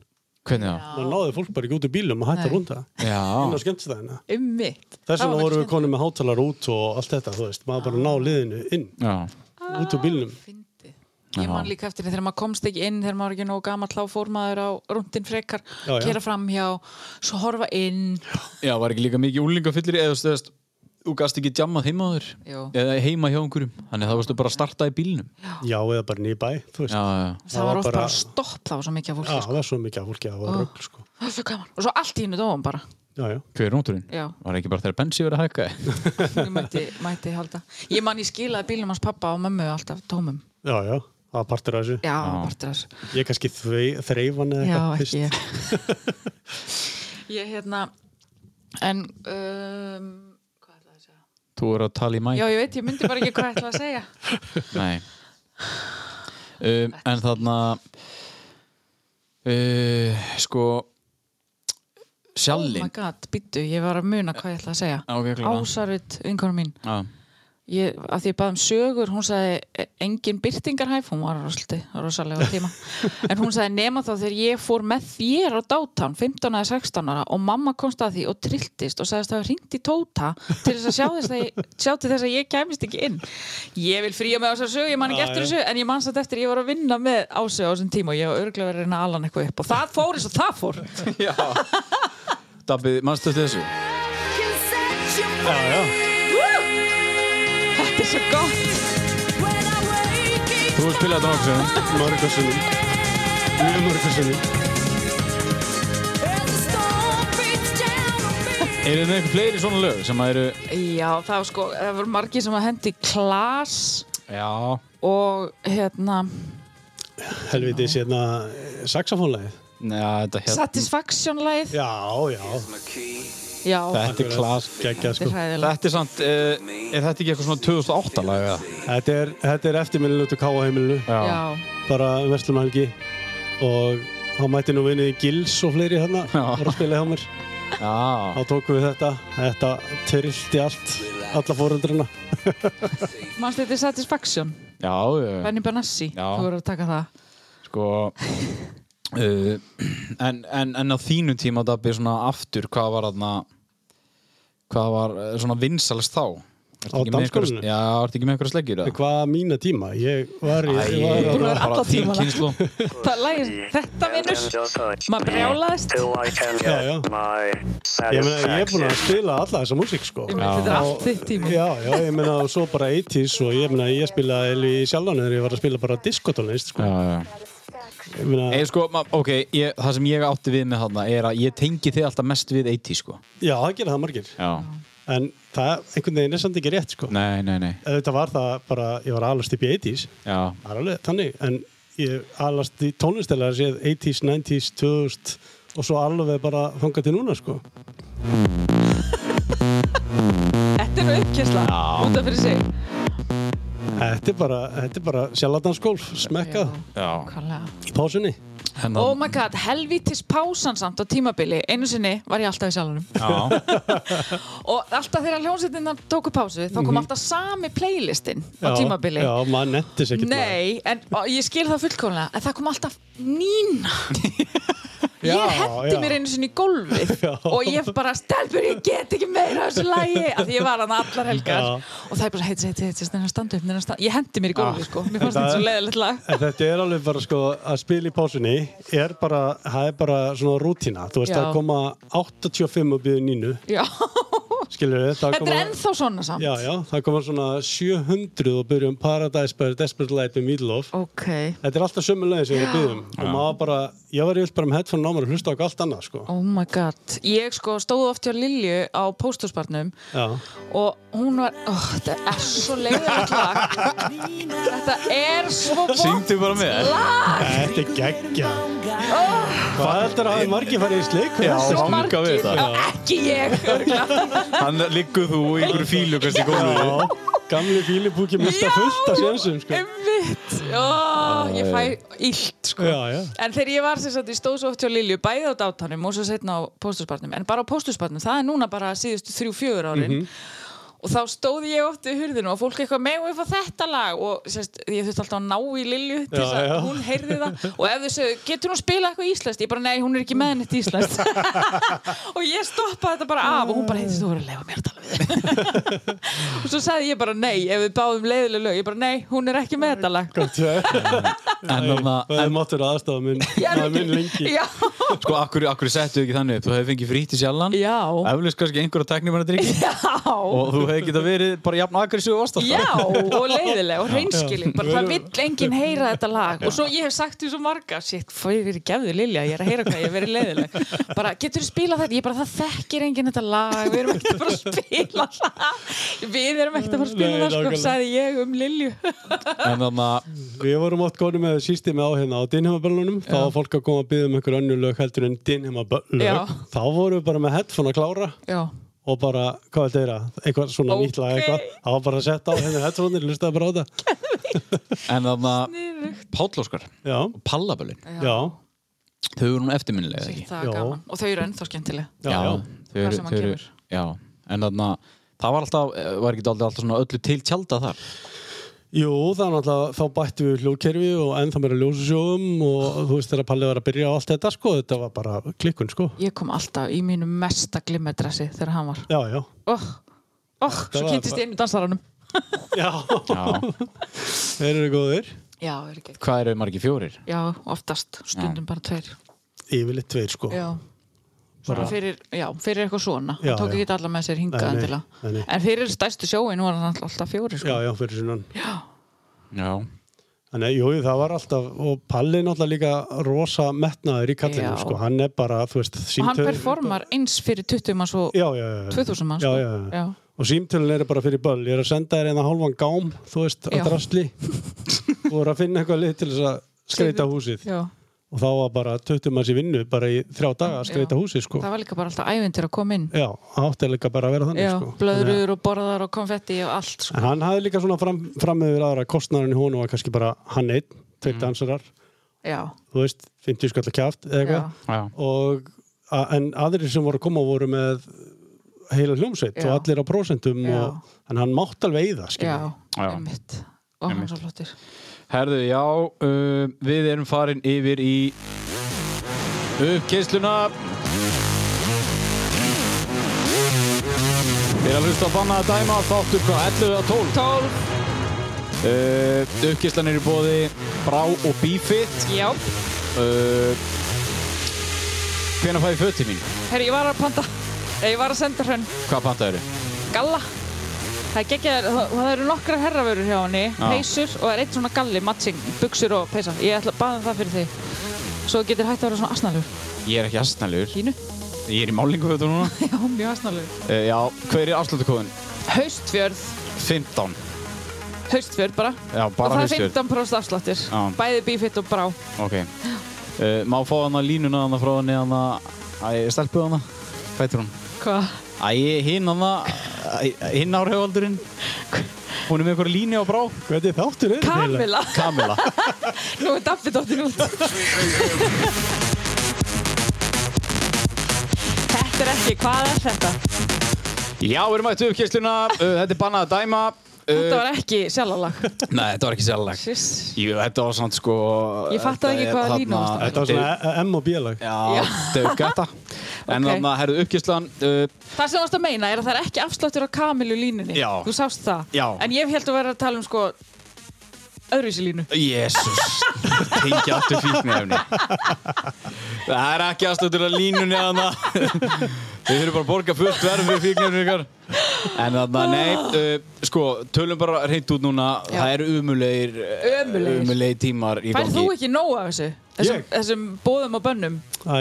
hvernig það? Man náði fólk bara ekki út í bílum að hætta Nei. að rúnda inn á Já, skemmtustæðina. Ummitt. Þess vegna vorum við konum með hátalar út og allt þetta, þú veist, maður bara ná liðinu inn, já, út úr bílnum. fyndið. Ég man líka eftir því þegar maður komst ekki inn, þegar maður var ekki nógu gammal, þá fór maður á rúndin frekar, Já, já. kera fram hjá, svo horfa inn. já, var ekki líka mikið úlingafyllir eða stöðast Þú gast ekki djammað heima á þér Jú. eða heima hjá einhverjum þannig að það varstu bara að starta í bílnum Já, eða bara nýbæ, þú veist. Já, já, já Það var oft bara, stopp, það var svo mikið af Já, fólki. það var svo mikið af fólki að það Ah. var rögl, sko. Það er svo gaman. Og svo allt í hennu dóum bara. Já, já. Hver er nóturinn? Já. Var ekki bara þegar bensi verið að hækka? Ég mætti, mætti halda. Ég man ég skilaði bílnum hans pappa og mömmu alltaf tómum. Já, já, það var partur af þessu. Já, partur af þessu. Ég kannski þvei- þreif hann eða Já, eitthvað fyrst. ekki ég. Ég hérna, en, um, hvað ætlaði ég að segja? Þú er að tala í mæk? Já, ég veit, ég myndi bara ekki hvað ég ætlaði að segja. Nei. Um, en þarna, uh, sko, Oh my sjallinn. Oh god, býttu, ég var að muna hvað ég ætlaði að segja. Já, ok, klára. Ásarut, vinkonu mín. Já, ég, að því ég baði um sögur hún sagði e- engin byrtingarhæf hún var rosalega, rosalega á tíma en hún sagði nema þá þegar ég fór með þér á dátán, 15 eða 16 ára og mamma komst að því og trilltist og sagðist að það hringdi í tóta til þess að sjá, þess að ég, sjá til þess að ég kæmist ekki inn ég vil fríja með þessar sög, ég man ekki Já, eftir já. þessu en ég man satt eftir, ég var að vinna með ásög á þessum tíma og ég var örglega verið að reyna að ala hann eitthvað upp og það fór eins og það fór Já Dabbi, mannstu eftir þessu? Já, já. þetta er svo gott Þú hefur spilað þetta Mörgur nokkuð sinnum. sinnum. Mjög mörgur sinnum. Eru þið með eitthvað fleiri svona lög sem að eru já, það var sko, það voru margir sem að hendi klas Já og hérna Helviti, sérna saxofónlegið. Já, þetta hérna Satisfaction lagið Já, já. Já, Þetta er klas Gekkja, þetta sko. er hræðilega Þetta er samt, uh, er þetta ekki eitthvað svona 2008 lag eða? Þetta er, þetta er eftirminnilegt að káa heimilinu. Já, Bara um verslumhelgi. Og þá mætti nú vinnið Gils og fleiri hérna. Já. Bara að spila hjá mér. Já Þá tókum við þetta. Þetta tyrlti allt. Alla fóröldrina. mannstu þetta er Satisfaction Já, já, Benny Benassi, Já. þú voru að taka það sko uh, en, en, en á þínum tíma Dabbi svona aftur, hvað var þarna hvað var eh, svona vinsalist þá? Á Ertu ekki með einhverja- dansgólfinu? Já, ertu ekki með einhverja sleggjur eða? Hvað mína tíma? Ég var í... ég var Æ, að- vera bara alla þín tímana. kynslu Það lagið, þetta vinnur Maður brjálaðist Till I can Já, já. get my Ég meina, ég er búinn að satisfaction. spila alla þessa músík, sko. Þetta er allt þitt tími Já, já, ég meina, og svo bara 80s og ég meina, ég spilaði eiginlega í sjálfan þegar ég var að spila bara diskotónlist, sko. Já, já Ég meina, Eða sko, ma- ok, ég, það sem ég átti við með þarna er að ég tengi þig alltaf mest við 80 sko já, það gera það margir. Já En það, einhvern veginn er samt ekki rétt, sko. Nei, nei, nei, Þetta var það bara, ég var alast upp í 80s, já það er alveg þannig, en ég alast í tónlistelega séð 80s, 90s, 2000 og svo alveg bara þangað til núna, sko. Þetta er uppkessla, út af fyrir sig Þetta er bara, þetta er bara sjálfadansgólf, smekkað Já. nákvæmlega. í pásunni. Hennan, Oh my god, helvítis pásan samt á tímabili Einu sinni var ég alltaf í sjálfunum Já, Og alltaf þegar hljónsveitinnar tóku pásu Þá Mhm. kom alltaf sami playlistin á Já, tímabili Já, maður nettis ekkert maður. Nei, en og ég skil það fullkomlega En það kom alltaf Nína Ég hendi já. mér einu sinni í gólfið Já. og ég bara, stelpur, ég get ekki meira af þessu lægi, af því ég var hann allar helgar Já. og það er bara, heiti, heiti, heiti, neina standu upp, neina standu, ég hendi mér í gólfið, sko mér fannst En þetta Ah, það- svo leiðilegt lag En þetta er alveg bara sko að spila í pásunni er bara, það er bara svona rútína þú veist Já. að koma 85 og byrja nínu, Já, skilur við það þetta er koma, ennþá svona samt já, já, það koma svona 700 og byrja um Paradise by Desperate Light með Meatloaf Ok, þetta er alltaf sömu lögin sem við byrjum og maður bara, ég var yfirst bara með headphone námar og hlusta á allt annað sko oh my god Ég sko stóð oft hjá Lilju á pósthúsbarnum já, og hún var, ó, þetta er svo leiðilegt lag Þetta er svo vond syngdu bara með þetta er geggja hvað heldur að hafi margir farið í slik já, Svo hanga margir, við þetta. Já, ekki ég örugglega. Hann liggur þú í einhverju fílu kannski góðu já gamli fílipúki mista fullt að sénsum sko. Einmitt, Ah, já, ég fæ illt sko. já, já, En þegar ég var sem sagt, ég stóð svo oft hjá Lilju bæði á dátanum og svo setna á póstusbarnum en bara á póstusbarnum, það er núna bara síðustu þrjú, fjögur árin Mhm. og þá stóð ég oft í hurðinu og fólk eitthvað með og ég fá þetta lag og sérst, ég þurfti alltaf að ná í Lilju til þess Já, já. að hún heyrði það og ef þau sögðu, getur hún spilað eitthvað íslenskt? Ég bara, nei, hún er ekki með neitt íslenskt og ég stoppaði þetta bara af og hún bara heitist, þú voru að leifa mér að tala við þig." og svo sagði ég bara, nei, ef við báðum leiðileg lög, ég bara, nei, hún er ekki með þetta lag gott En þannig Það er máttur aðstofa minn, það er minn lengi. Já, sko, akkur, akkur settu ekki þannig upp Þú hefði fengið frítt í sjallan já, Eflust kannski einhverja teknir bara drikki já, Og þú hefði getað verið bara jafn agressív og vastar já og leiðileg og reynskilin bara það vill enginn heyra þetta lag og svo ég hef sagt því svo marga shit, fyrir gefðu Lilja, ég er að heyra hvað ég hef verið leiðileg bara, getur þú spilað þetta? Ég bara, það þekkir enginn þetta lag, við erum ekkert að fara að spila það við erum ekkert að fara að spila Nei, það sko, nákvæmlega. sagði ég um Lilju En þannig að Við vorum oft góðnum með sístið með á hérna á Dinheimaböllunum, þá var fólk að koma að byggja um einhver önnur lög heldur en Já. Dinheimaböllug. Þá vorum við bara með headphone að klára já, og bara, hvað er þetta? Eitthvað svona nýtt lag Ókei. eitthvað. Það var bara að setja á henni headphone-ir, lustaði bara á þetta. En þannig að Páll Óskar Já, Pallabölin já, já, Þau eru nú eftirminnilega ekki það er Já. gaman og þau eru ennþá skemmtilega já. Þau Hvar sem eru, hann þau eru kemur. Já En þannig að Það var alltaf, eh, var ekki alltaf, alltaf svona öllu til tjálta þar Jú, það er náttúrulega, þá bættu við hljóðkerfi og ennþá meira ljósusjóðum og þú veist þegar Palli var að byrja á allt þetta sko, þetta var bara klikkun sko. Ég kom alltaf í mínu mesta glimmerdressi þegar hann var Já, já. Oh, oh, svo var kynntist bara- ég einu dansaranum Já, Já. þeir eru góðir. Já, er ekki Hvað eru margir fjórir? Já, oftast, stundum bara tveir Yfirleitt tveir sko. Já Svona fyrir, já, fyrir eitthvað svona Já, Hann tók já. ekki allar með sér hingað Nei, nei, endilega nei, nei. En fyrir stærstu sjóin var hann alltaf fjóri Já, sko. já, fyrir sinnan. Já. Þannig, að, jú, það var alltaf, og Palli náttúrulega líka rosa metnaður í kallinu, Já. sko, hann er bara, þú veist, Og hann símtöl- performar eins fyrir 20 manns og Já, já, já. 2000 manns Já, sko. já, já. já. Og símtölun eru bara fyrir böll, ég er að senda þér einna hálfan gám, þú veist, Já. að drasli, og er að finna eitthvað lið til þess að skreita húsið. Já. Og þá var bara 20 manns í vinnu, bara í þrjá daga að skreita Já. húsið, sko. Það var líka bara alltaf ævindir að koma inn Já, áttilega bara að vera þannig, Já, sko. Þannig að- blöðrur og borðar og konfetti og allt sko. En hann hafði líka svona fram, fram yfir aðra kostnarinn í honum var kannski bara hann einn, Mm. tveir dansarar, Já, þú veist, 50 skall að kjáft eða já, eitthvað. Já. og a- en aðrir sem voru að koma voru með heila hljómsveit Já. og allir á prósentum Já. og, en hann mátt alveg í já, það skilur við. Já. einmitt Og hann Einmitt. var svo flottir Herðu, já, uh, við erum farin yfir í uppkeysluna. Við erum að hlusta á bannað að dæma þáttur hvað, 11 að 12? 12, Uh, uppkeyslan er í bóði Brá og Bífitt. já, Uh, Hvenær fæði fötið mín? herri, ég var að panta Eh, Ég var að senda hrönn Hvað pantaður þið? galla Það, gekkja, það, það eru nokkra herravörur hjá henni, peysur og það er eitt svona galli, matching, buksur og peysa. Ég ætla að baða um það fyrir þig. Svo þú getur hægt að vera svona asnalur. Ég er ekki asnalegur. Kínu? Ég er í málingufötu núna. Já, mjög asnalur. uh, já, hver er afslutukóðin? Haustfjörð, 15. haustfjörð bara. Já, og bara það haustjörn. er 15% afsláttir. Já. Bæði bífitt og brá. Ok. Uh, má fá hana línuna hana frá henni hana, æ, stelpu hana, hvað heitir hún? Hvað? Æ, hinn hana, æ, hinn árhefaldurinn. Hún er með einhverja línu á brá. hvernig þáttur er þetta eiginlega? Kamila. Kamila. Nú er Dabbi dottin út. þetta er ekki, hvað er þetta? Já, við erum mættu uppkýrsluna, uh, þetta er bannað að dæma. Eh, Þetta var ekki sjálfalag. Nei, þetta var ekki sérleg. Sviss. Jú, þetta var svona sko... Ég fattaði ekki hvaða lína varst að um. Þetta var svona e, M og B lag Já, Já. þetta er gæta. En Ok. þannig að herðu uppkýrslan, uh, Það sem þú varst að meina er að það er ekki afsláttur á kamilu línunni. Já. Þú sást það. Já. En ég held að vera að tala um sko öðruvísi línu. Jésús, tengi aftur fíknefni. Það er ekki aðstöður að línunni að Við þurfum bara að borga fullt verð fyrir fíknefni ykkar. En þannig að nei, uh, sko, tölum bara hreint út núna. Já. Það eru umulegir, Ömurlegir. umulegir tímar í Færð gangi. þú ekki nóg af þessu? Þessum, Ég? þessum bóðum og bönnum Æ,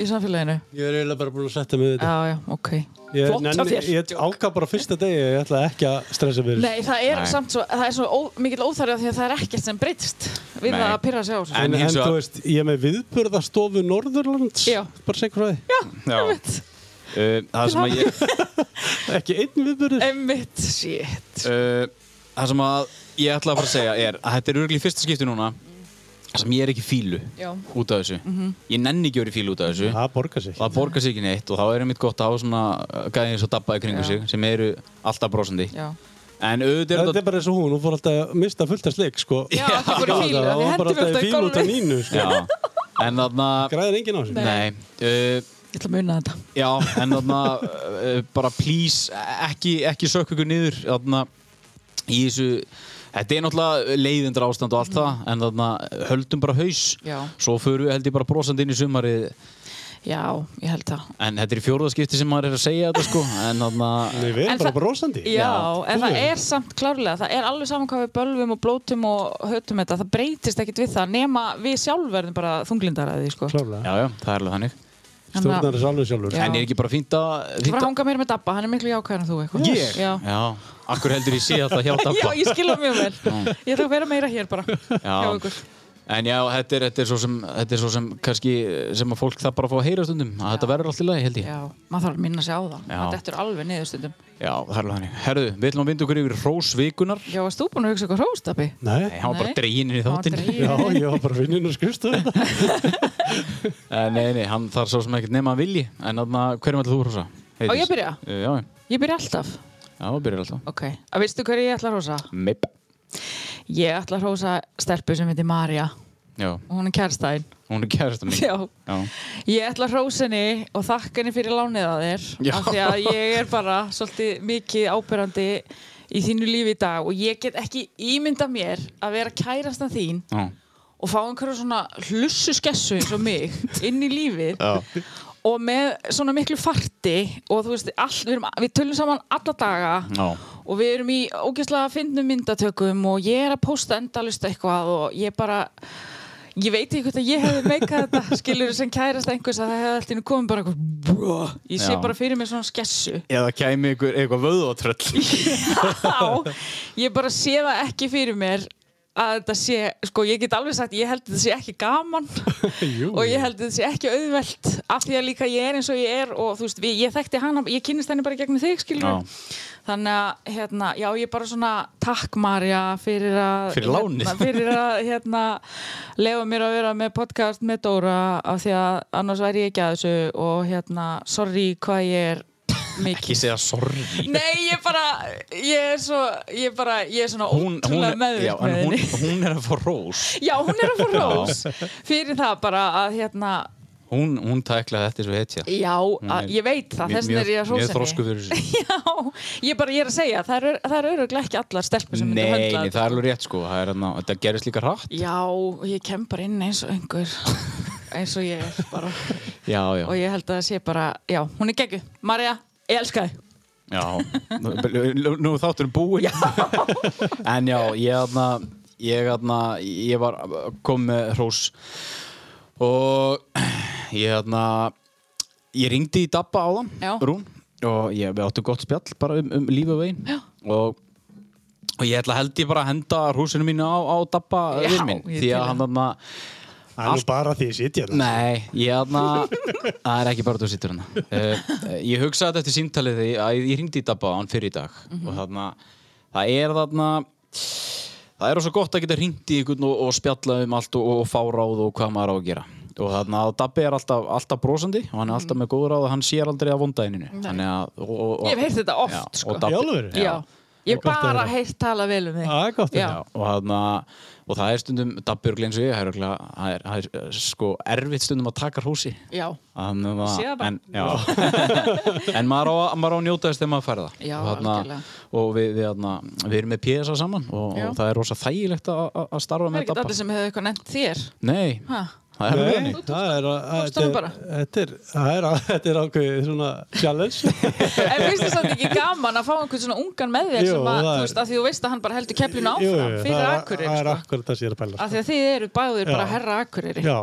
í samfélaginu? ég er eiginlega bara búin að setja með Já, þetta já, ok. Ég, flott hjá þér. ég ákvað bara fyrsta degi, ég ætla ekki að stressa fyrir Nei, það er Nei. samt svo, það er svo ó, mikill óþarja því að það er ekkert sem breytist við Nei. það að pyrra sig á þessu. En- En, en hins vegar- þú veist, ég er með viðburðastofu Norðurlands Já. Bara segur frá því Já, uh, það sem að ég... Ekki einn viðburður Emmitt, shit. Uh, það sem að ég ætla að fara að segja er að þetta er örgli fyrsta skipti núna sem ég er ekki í fílu Já. Mhm. út af þessu. Ég nenni ekki að vera í fílu út af þessu. Það borgar sig og það borgar sig ekki neitt og þá er einmitt gott að hafa svona uh, gæði eins og dabba í kringu Já. sig sem eru alltaf brosandi Já. en auðvitað er Þetta þetta er bara eins og hún, hún fór alltaf að mista fullt af slik sko. Já, ekki fór í fílu, Það við var bara hendum alltaf í alltaf í fílu út af gólfið. nínu sko. já, en þarna Græðir enginn á sig nei, uh, Ég ætla að muna þetta. já, en þarna uh, bara please ekki, ekki sökk ykkur niður þarna í þessu Þetta er náttúrulega leiðindra ástand og allt það, en þarna uh, höldum bara haus, Mhm. Já. svo förum við held ég bara brosandi inn í sumarið, Já, ég held það. en þetta er í fjórðaskipti sem maður er að segja þetta sko, en þarna, Nei, En við erum bara það- brosandi Já, en það Guð. er samt klárlega, það er alveg saman hvað við bölvum og blótum og hötum þetta, það breytist ekkit við það nema við sjálf verðum bara þunglindar að því, sko. Klárlega, já, já, það er alveg þannig. Þannig að- stjórnar er alveg sjálfur Já. En er ekki bara fínt að... Þú fínt fyrir að að- hanga meira með Dabba, hann er miklu jákvæðan en þú eitthvað. Ég? Já. Já, akkur heldur ég sé alltaf hjá Já, Dabba. ég skilja mjög vel. Ég ætla að vera meira hér bara. hjá ykkur. En já, þetta er, þetta, er svo sem, þetta er svo sem kannski sem að fólk það bara fá að heyra stundum að þetta verður allt í lagi, held ég. Já, Já, maður þarf að minna sig á það. Já. Það dettur alveg niður stundum. það er alveg þannig. Herðu, við ætlum að vinda okkur yfir rósvikunar. Já, varst þú búin að hugsa eitthvað hróst, Dabbi? Nei, Nei, hann var bara Nei. dreginn inn í Hann var þáttinn. dreginn. já, ég var bara vinninn og skrifstu þetta Eh, Nei, nei, hann þarf svo sem ekkert nema að vilji. En þarna, hverjum ætlum þú að hrósa? Á, ég að byrja? Já, Ég byrja alltaf. Já, það byrjar alltaf. Ok, að veistu hverju ég ætla að hrósa? Mip. Ég ætla að hrósa stelpu sem heitir Marja Já, og hún er kærstæðin. hún er kærasta mín. Já. Já. Ég ætla að hrósa henni og þakka henni fyrir lánið að þér Já. af því að ég er bara svolítið mikið ábyrrandi í þínu lífi í dag og ég get ekki ímynda mér að vera kærastan þín Já. og fá einhverja svona hlussu skessu eins og mig inn í lífið Já. og með svona miklu farti og þú veist, all, við, erum, við tölum saman alla daga Já. og við erum í ógeðslega fyndnum myndatökum og ég er að posta endalust eitthvað og ég bara ég veit ekki hvort að ég hefði meikað þetta skilur sem kærast einhvers að það hefði allt í einu komið bara eitthvað brú, ég sé Já. bara fyrir mér svona skessu Eða kæmi ykkur eitthvað vöðvatröll. já, ég bara sé það ekki fyrir mér að þetta sé, sko ég get alveg sagt ég held að þetta sé ekki gaman Jú, og Mm. ég held að þetta sé ekki auðvelt af því að líka ég er eins og ég er og þú veist, við, ég þekkti hana, ég kynist henni bara gegnum þig skilur Já. þannig að, hérna, já ég bara svona takk Marja fyrir að Fyrir lánið. hérna, fyrir að, hérna lefa mér að vera með podcast með Dóra af því að annars væri ég ekki að þessu og hérna, sorry hvað ég er mikið Ekki segja sorry. Nei, ég bara, ég er svo, ég bara, ég er svona ótrúlega meðvitt já, en með hún, henni. hún er að fá rós. Já, hún er að fá rós fyrir það bara að hérna, Hún, hún tæklaði þetta svo hetja. já, er að, ég veit það, þess vegna er ég að Mjög þrósku rósa fyrir þessu. Já, ég bara, ég er að segja, það eru- það eru öruglega ekki allar stelpur sem myndu Nei, höndla nei, það er alveg rétt sko. Það er þarna- Þetta gerist líka hratt. Já, ég kem bara inn eins og einhver, eins og ég er bara, Já, já. og ég held að það sé bara, já, hún er geggu. Marja, ég elska þig. Já, nú- nú- nú þáttur búin En já, ég aðna ég aðna, ég var kom með hrós og ég aðna ég ringdi í Dabba á Já. Rún og ég, við áttum gott spjall bara um, um lífi og veginn Já. og og ég ætla held ég bara að henda hrósinu mínu á, á Dabba Já, vinn minn ég því til í að hann aðna Það er nú bara því að sitja hérna. það. Nei, ég aðna Það er ekki bara þú sittur hana uh, Ég hugsaði þetta eftir símtalið því að ég hringdi í Dabba á hann fyrir í dag Mhm. og þarna, það er þarna það er svo gott að geta hringt í ykkur og, og spjalla um allt og, og fá ráð og hvað maður á að gera og þarna að Dabbi er alltaf, alltaf brosandi og hann er alltaf með góð ráð og hann sér aldrei að vonda eininu Þannig að, og, og, og, Mhm. Ég hef heyrt þetta oft, Já, sko. og Dabbi- Í alvöru? Já, ég Gott að bara heyra. heilt tala vel um þig. Það er gott að Já. heyra. og, hana, og það er stundum Dabbi örugglega eins og ég, það er örugglega- það er, það er sko erfitt stundum að taka hrósi Já. Þannig að Sé það bara. en, já. en maður á, að- maður á að njóta þess þegar maður fær það Já, og, algjörlega. og við, við, hana, við erum með PSA saman og, Já. og það er rosa þægilegt að- að að starfa Það er með ekki Dabba allir sem hefur eitthvað nefnt þér. Nei, Ha? það er Nei, raunin það er að- að- tókst honum þetta bara. er- þetta er- það er að- þetta er ákveðið svona challenge. En finnst þér samt ekki gaman að fá einhvern svona ungan með þér Jú, sem að, það þú er- veist, að því þú veist að hann bara heldur keflinu Jú, áfram jú, fyrir það er- akkurir, Það er sko. akkurat það sem ég er að pæla. Af því að þið eru báðir bara Já. herra akkurir. Já.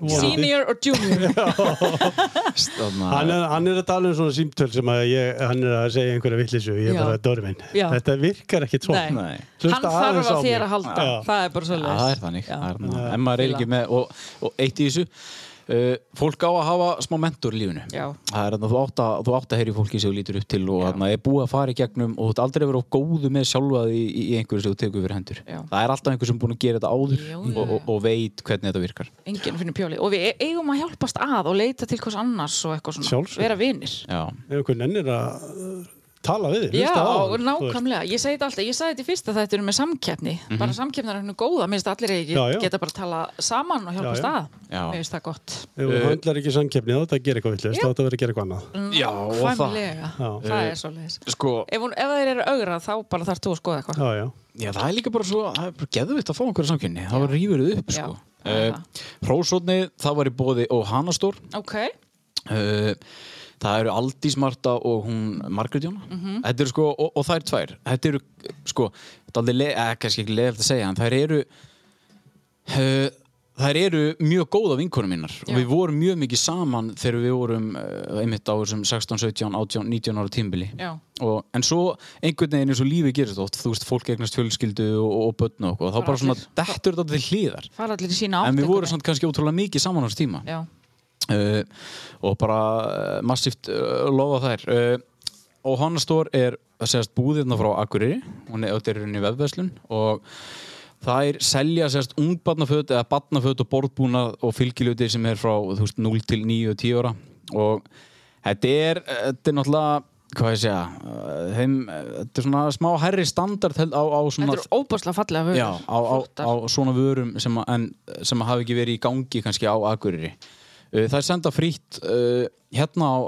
vonandi. Senior og junior. Þannig Hann að- er, hann er að tala um svona símtöl sem að ég, hann er að segja einhverja vittlisu, ég er Já. bara Dóri minn. Já. Þetta virkar ekki tvo. Nei. Nei. Hann þarf á þér að halda. Já. Það er bara Já, svolítið. það er þannig það er þannig. Já. En maður er ekki með og, og eitt í þessu uh, Fólk á að hafa smá mentor í lífinu Já. Það er þannig að þú átt að, þú átt að heyri fólki sem þú lítur upp til og þannig að er búið að fara í gegnum og þú ert aldrei verið á góðu með sjálfa því í, í einhverju sem þú tekur fyrir hendur Já. Það er alltaf einhver sem er búin að gera þetta áður Jú, jú, og, og, og veit hvernig þetta virkar Enginn finnir pjóli. Og við eigum að hjálpast að og leita til hvers annars og eitthvað svona. Sjálfsögðu. Vera vinir. Já, Ef einhver nennir að uh, tala við Já, þig, hlusta á hann, og þú veist. nákvæmlega. Ég segi þetta alltaf, ég segi þetta í fyrsta þættunum með samkeppni. Mhm. Bara samkeppnar er hennu góða, minnst allir eigi Já, já. geta bara að tala saman og hjálpast Já, já. að. Já. Mér finnst það gott. Ef þú höndlar ekki samkeppni þá þetta að gera eitthvað villist, Já. Mm. þá þetta verður að gera eitthvað annað. Já, og það- Nákvæmlega. Já. Það er svolítið. sko, Ef, hún, ef þeir eru augra þá bara þarf þú að skoða eitthvað. Já, já. já, það er líka bara svo það er bara geðvitt að fá einhverja samkynni það var rýfur þið upp Já, sko. það er það. uh, Rósotni, það var í bóði og Hanastór Ok, Uh, það eru Aldís Marta og hún Margrét Jóna Mhm. þetta eru sko, og, og það eru tvær þetta eru sko, þetta er leið, eh, kannski ekki leiðilegt að segja en þær eru uh, þær eru mjög góða vinkonum minnar og Já. við vorum mjög mikið saman þegar við vorum uh, einmitt á þessum 16, 17, 18, 19 ára tímbili Já. og, en svo einhvern veginn eins og lífi gerist oft þú veist, fólk eignast fjölskyldu og, og, og börn og, okkur, og þá Bara bara svona allir. dettur þetta til hliðar fara allir í sína átt. en við vorum einhvern samt kannski ótrúlega mikið saman á þessu tíma veginn. Já, uh, og bara uh, massíft uh, lofa þær uh, og Hannastór er að segjast búðirna frá Akureyri hún er auðvitað í vefverslun og þær selja segjast ungbarnaföt eða barnaföt og borðbúnað og fylgilöti sem er frá þú veist, 0 til 9 og 10 ára og þetta er, þetta er náttúrulega hvað ég segja uh, þeim, uh, þetta er svona smá herri standard held, á, á svona Þetta er óbúrslega fallega vörur. já, á, á, Flottar. á svona vörum sem, að, en, sem að hafa ekki verið í gangi kannski á Akureyri uh, það er senda frítt uh, hérna á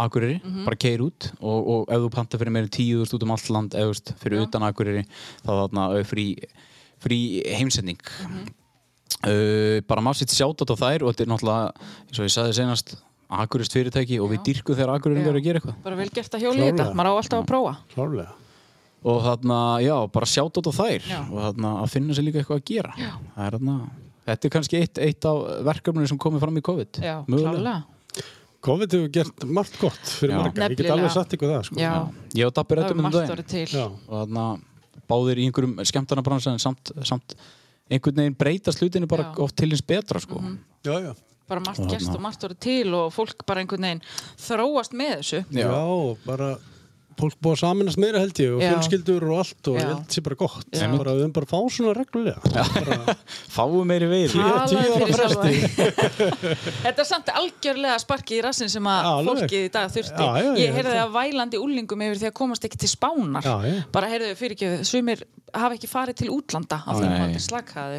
Akureyri, Mhm. bara keir út og, og ef þú panta fyrir meira en tíu út um allt land eða þú veist, fyrir utan Akureyri þá þarna uh, frí, frí heimsending Mhm. Uh, bara maður sitt sjátt á þær og þetta er náttúrulega, eins og ég sagði senast Akurist fyrirtæki og við dyrku þegar Akureyringar eru að gera eitthvað Bara vel gert að hjóla í þetta, Klárlega. maður á alltaf að prófa. klárlega og þarna, já, bara sjátt á þær Já. og þarna að finna sér líka eitthvað að gera það er þarna, þetta er kannski eitt, eitt af verkefninu sem komið fram í COVID Já, Mögulega. klálega. COVID hefur gert margt gott fyrir Já. marga, ég get Nefnilega. alveg satt ykkur það sko. Já, ég og Dabbi það er rættum um margt daginn orðið til. Já. og þarna báðir í einhverjum skemmtarnabransa en samt, samt einhvern veginn breytast hlutinu bara Já. Mhm. oft til hins betra sko. Já, já. Bara margt gerst og margt orðið til og fólk bara einhvern veginn þróast með þessu. Já. bara fólk búið að saminast meira held ég og Já. fjölskyldur og allt og Já. ég held sé bara gott Já. bara, við höfum bara að fá svona reglulega bara, fáum meiri veið Tíu- tíu Talaðu ára fyrir sjálfan þig. Þetta er samt algjörlega sparkið í rassin sem að Já, alveg. fólkið í dag þurfti Já, já, ég Ég held heyrði það. að vælandi úlingum yfir því að komast ekki til spánar Já, já. bara heyrðu fyrirgjöf, sumir hafa ekki farið til útlanda á því Nei. að maður slakaði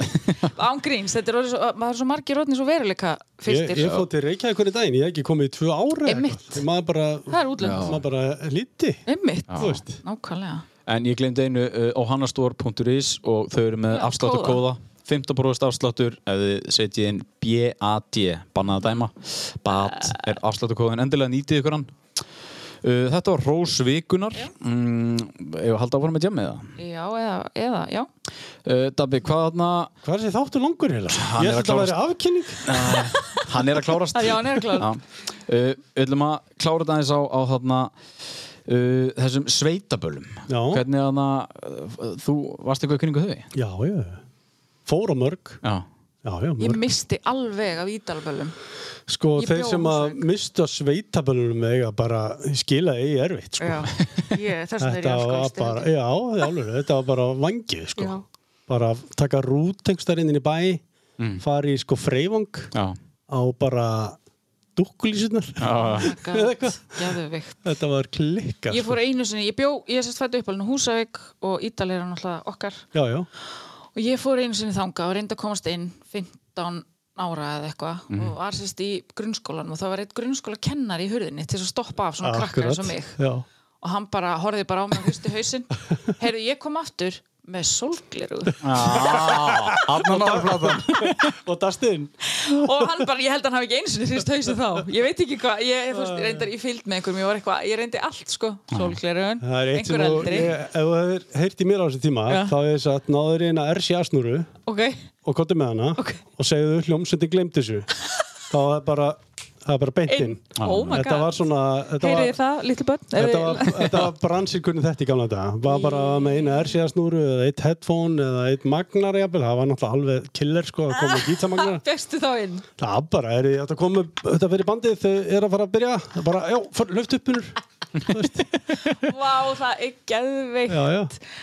ángríns, þetta er orðið svo, maður er svo margir orðin svo veruleika ég, fyrstir ég fótt til Reykjavík hvernig daginn, ég hef ekki komið í tvö ára eða Einmitt. eitthvað. maður bara, Það er útlönd. maður bara líti Einmitt, þú veist nákvæmlega En ég glemdi einu uh, á hannastor.is og þau eru með Já, afsláttur kóða kóða. 15% afsláttur ef þið setjið inn BAD bannaða dæma BAD Eh. er afsláttur kóðin endilega nýtið ykkur hann uh, Þetta var Rós Vikunar mm, Ef að halda áfram með jammið það Já, eða, eða, já uh, Dabbi, hvað þarna Hvað er þessi þáttu langur heila? er Ég að ætla þetta að væri afkynning eh, hann er að klárast Já, hann er að klárast. Já. Uh, Við ætlum að klára þetta aðeins á, á þarna uh, þessum sveitabölum Já. Hvernig þarna uh, þú varst eitthvað í kringu þau? Já, já, fór á mörg Já Já, já, Ég mörg misti alveg af ídalbölum Sko, ég þeir bjó á sem að Húsavík. mista sveitabölunum eiga bara skila eigi erfitt sko. Já, ég, þess að þeir Þetta eru var bara, alveg já, alveg, þetta var bara vangið sko. Já. Bara taka rútengstarinn inn í bæ fara í sko freifang Já á bara dukkulísunar Eða Gæðu hvað? veikt Þetta var sko. klikkar Ég fór einu sinni, ég bjó, ég sérst fættu uppalinn á Húsavík og Ídal er náttúrulega okkar Já, já, og ég fór einu sinni þangað og reyndi að komast inn 15 ára eða eitthvað og var sérst í grunnskólanum og það var eitt grunnskóla kennar í hurðinni til þess að stoppa af svona krakkar eins og mig Já, og hann bara horfið bara á mig og hristi hausinn heyrðu ég kom aftur með sólgleru Ah, Arnar Norrplatan og dastinn og hann bara, ég held að hann hafi ekki einu sinni hrist hausinn þá ég veit ekki hvað, ég þú veist, reyndar í fylgd með einhverjum, ég var eitthvað, ég reyndi allt sko sólglerun, Það er eitt sem einhver þú, eldri ég, ef þú hefur heyrt í mér á þessu tíma, Já. þá hefur þess að náður eina RCA-snúru ok, og kottu með hana Ok. og segðu hljómsundi glemt þessu. þá er bara, það er bara beint inn, inn. oh my Þetta var god svona, þetta heyrið var, þið það, litlu börn þetta var, þetta var bransir kunni þetta í gamla dag. Var bara með eina RCA-snúru eða eitt headphone eða eitt magnar jafnvel, það var náttúrulega alveg killer sko að koma með gítamagnar. Bestu þá inn Það er bara, er, þetta komu, þetta fyrir bandið þau eru að fara að byrja, það er bara, já, fara- löft upp unnur. Vá, það er geðveikt Já, já.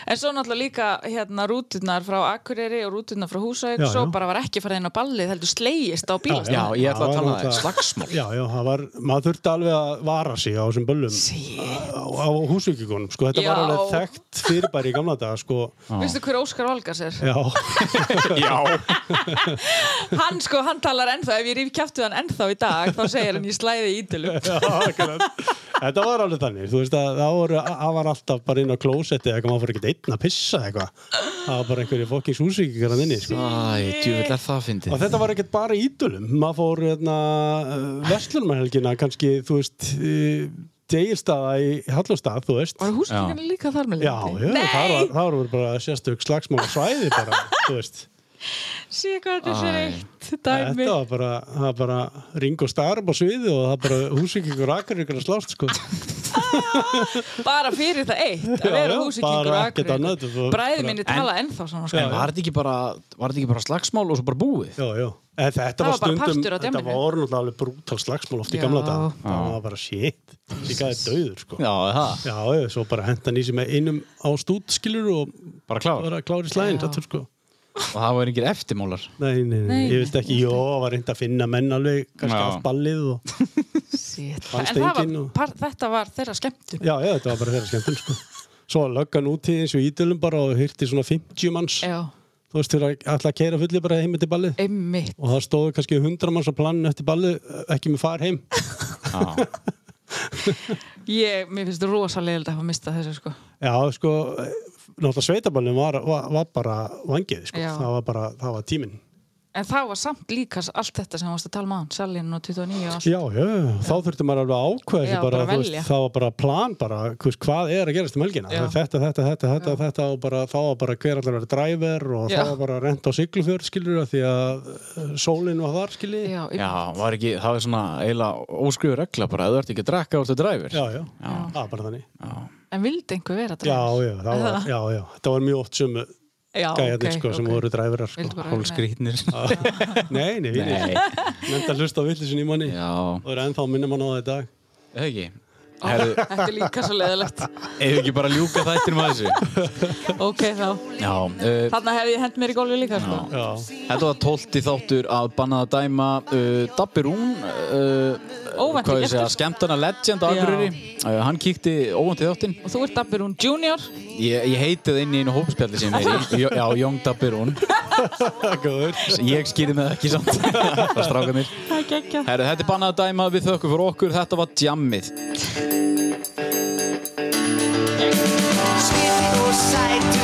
En svo náttúrulega líka hérna rúturnar frá Akureyri og rúturnar frá Húsavík Já, Svo já. bara var ekki farið inn á ballið heldur slegist á Já, bílastæðum ég ætla Já, að tala um það náttúrulega. Slagsmál Já, já, það var, maður þurfti alveg að vara sig á þessum böllum Shit. á, á húsvíkikonum, sko, þetta var Já. alveg þekkt fyrirbæri í gamla daga, sko Veistu hver Óskar Valgars er? Já, Hann sko, hann talar ennþá, ef ég ríf kjæftu hann ennþá í dag þá segir hann ég slæði í ídilum já, akkurat. þetta var alveg þannig, þú veist að það voru, það var alltaf bara inn á klósetti eða eitthvað, maður fór ekkert einn að pissa eða eitthvað það var bara einhverju fokkins húsvíkikar að inni, sko Æ, djúvill er það að fyndi Og þetta var ekkert bara í ídölum, maður fór hérna, verslunumhelgina kannski, þú veist, eh, degilstaða í Hallustad, þú veist. Var húsvíkinni líka þar með Já, já, Nei, það var, það var bara sérstök slagsmála svæði bara, þú veist. sé hvað þetta er eitt dæmi Þetta var bara, það var bara ring og starf á sviði og það bara húsvíkingur akkur ykkur að slást, sko. Bara fyrir það eitt að Já, vera já, húsvíkingur bara á ekkert annað, þetta Akureyri var Bræði bara- minni tala ennþá svona sko En var þetta ekki bara Var þetta ekki bara slagsmál og svo bara búið? Já, já. En Það þetta var var bara stundum, partur á þetta djamminu. var náttúrulega alveg brútal slagsmál oft í Já. gamla dag. Það var bara shit, líkaði döður, sko. Já, er það Já, já, svo bara hendan í sem er einum á stút, skilur, og Bara klár bara klári slæðin, Já. þetta er sko. Og það var engir eftirmálar Nei, nei, nei, Nei, ég vildi ekki, jó, var reynd að finna menn alveg, kannski Já. allt ballið og Shit. En Fannst það var, enginn og- par, þetta var þeirra skemmtum. Já, já, þetta var bara þeirra skemmtun sko. Svo löggan úti eins og ídölum bara og hýrti svona 50 manns Já, þú veist, til að alltaf keira fulli bara heim til ballið einmitt. og það stóðu kannski 100 manns á planinu eftir ballið, ekki með far heim Ég, mér finnst rosalega að hafa mistað þessu, sko. Já, sko, náttúrulega sveitaballin var, var, var bara vangið sko. Já. það var bara, það var tíminn En það var samt líka allt þetta sem varst að tala maður, Salin og 29 og allt. Já, já, þá þurfti maður alveg að ákveða sig Já, bara, bara þú velja. það var bara plan bara, þú veist, hvað er að gerast um helgina Já. þetta, þetta, þetta, þetta, þetta og bara, þá var bara hver allar að vera driver og Já. þá var bara að renta á siglufjörð skilur því að eh, sólin var þar skilur Já, Já, var ekki, það er svona eiginlega óskrifu regla bara, ef þú ert ekki að drakka, þú ert að dræfir. já, já, það var bara þannig en vildi einhver vera já, dræfur? já, það var, já, já, þetta var mjög oft sömu já gæjarnir sko, sem voru dræfirar sko. Vildi bara vera með. Hólskrýtnir. nei, nei, nei, Nei, nefndi að hlusta á villisun í manni já, og er ennþá minnum hann á það í dag eða ekki. Herðu, Þetta er líka svo leðilegt. eða ekki bara ljúka þættinum að þessu. Ok, þá. Já, uh, Þarna hefði ég hend mér í gólfi líka, sko. já, Þetta var tólti þáttur að bannaða dæma uh, Dabbi Rún uh, Óvænt í hvað ég gestur. segja, skemmtana legend á Já. Akureyri, uh, hann kíkti óvænt í þáttin Og þú ert Dabbi Rún Junior. ég, ég heiti það inn í einu hópspjalli sem ég er í Jó- Já, Young Dabbi Rún góður ég skýri með það ekki samt það stráka mér Það er geggjað. Herru, þetta er bannaða dæma við þökkum fyrir okkur, þetta var jammið Sweet Side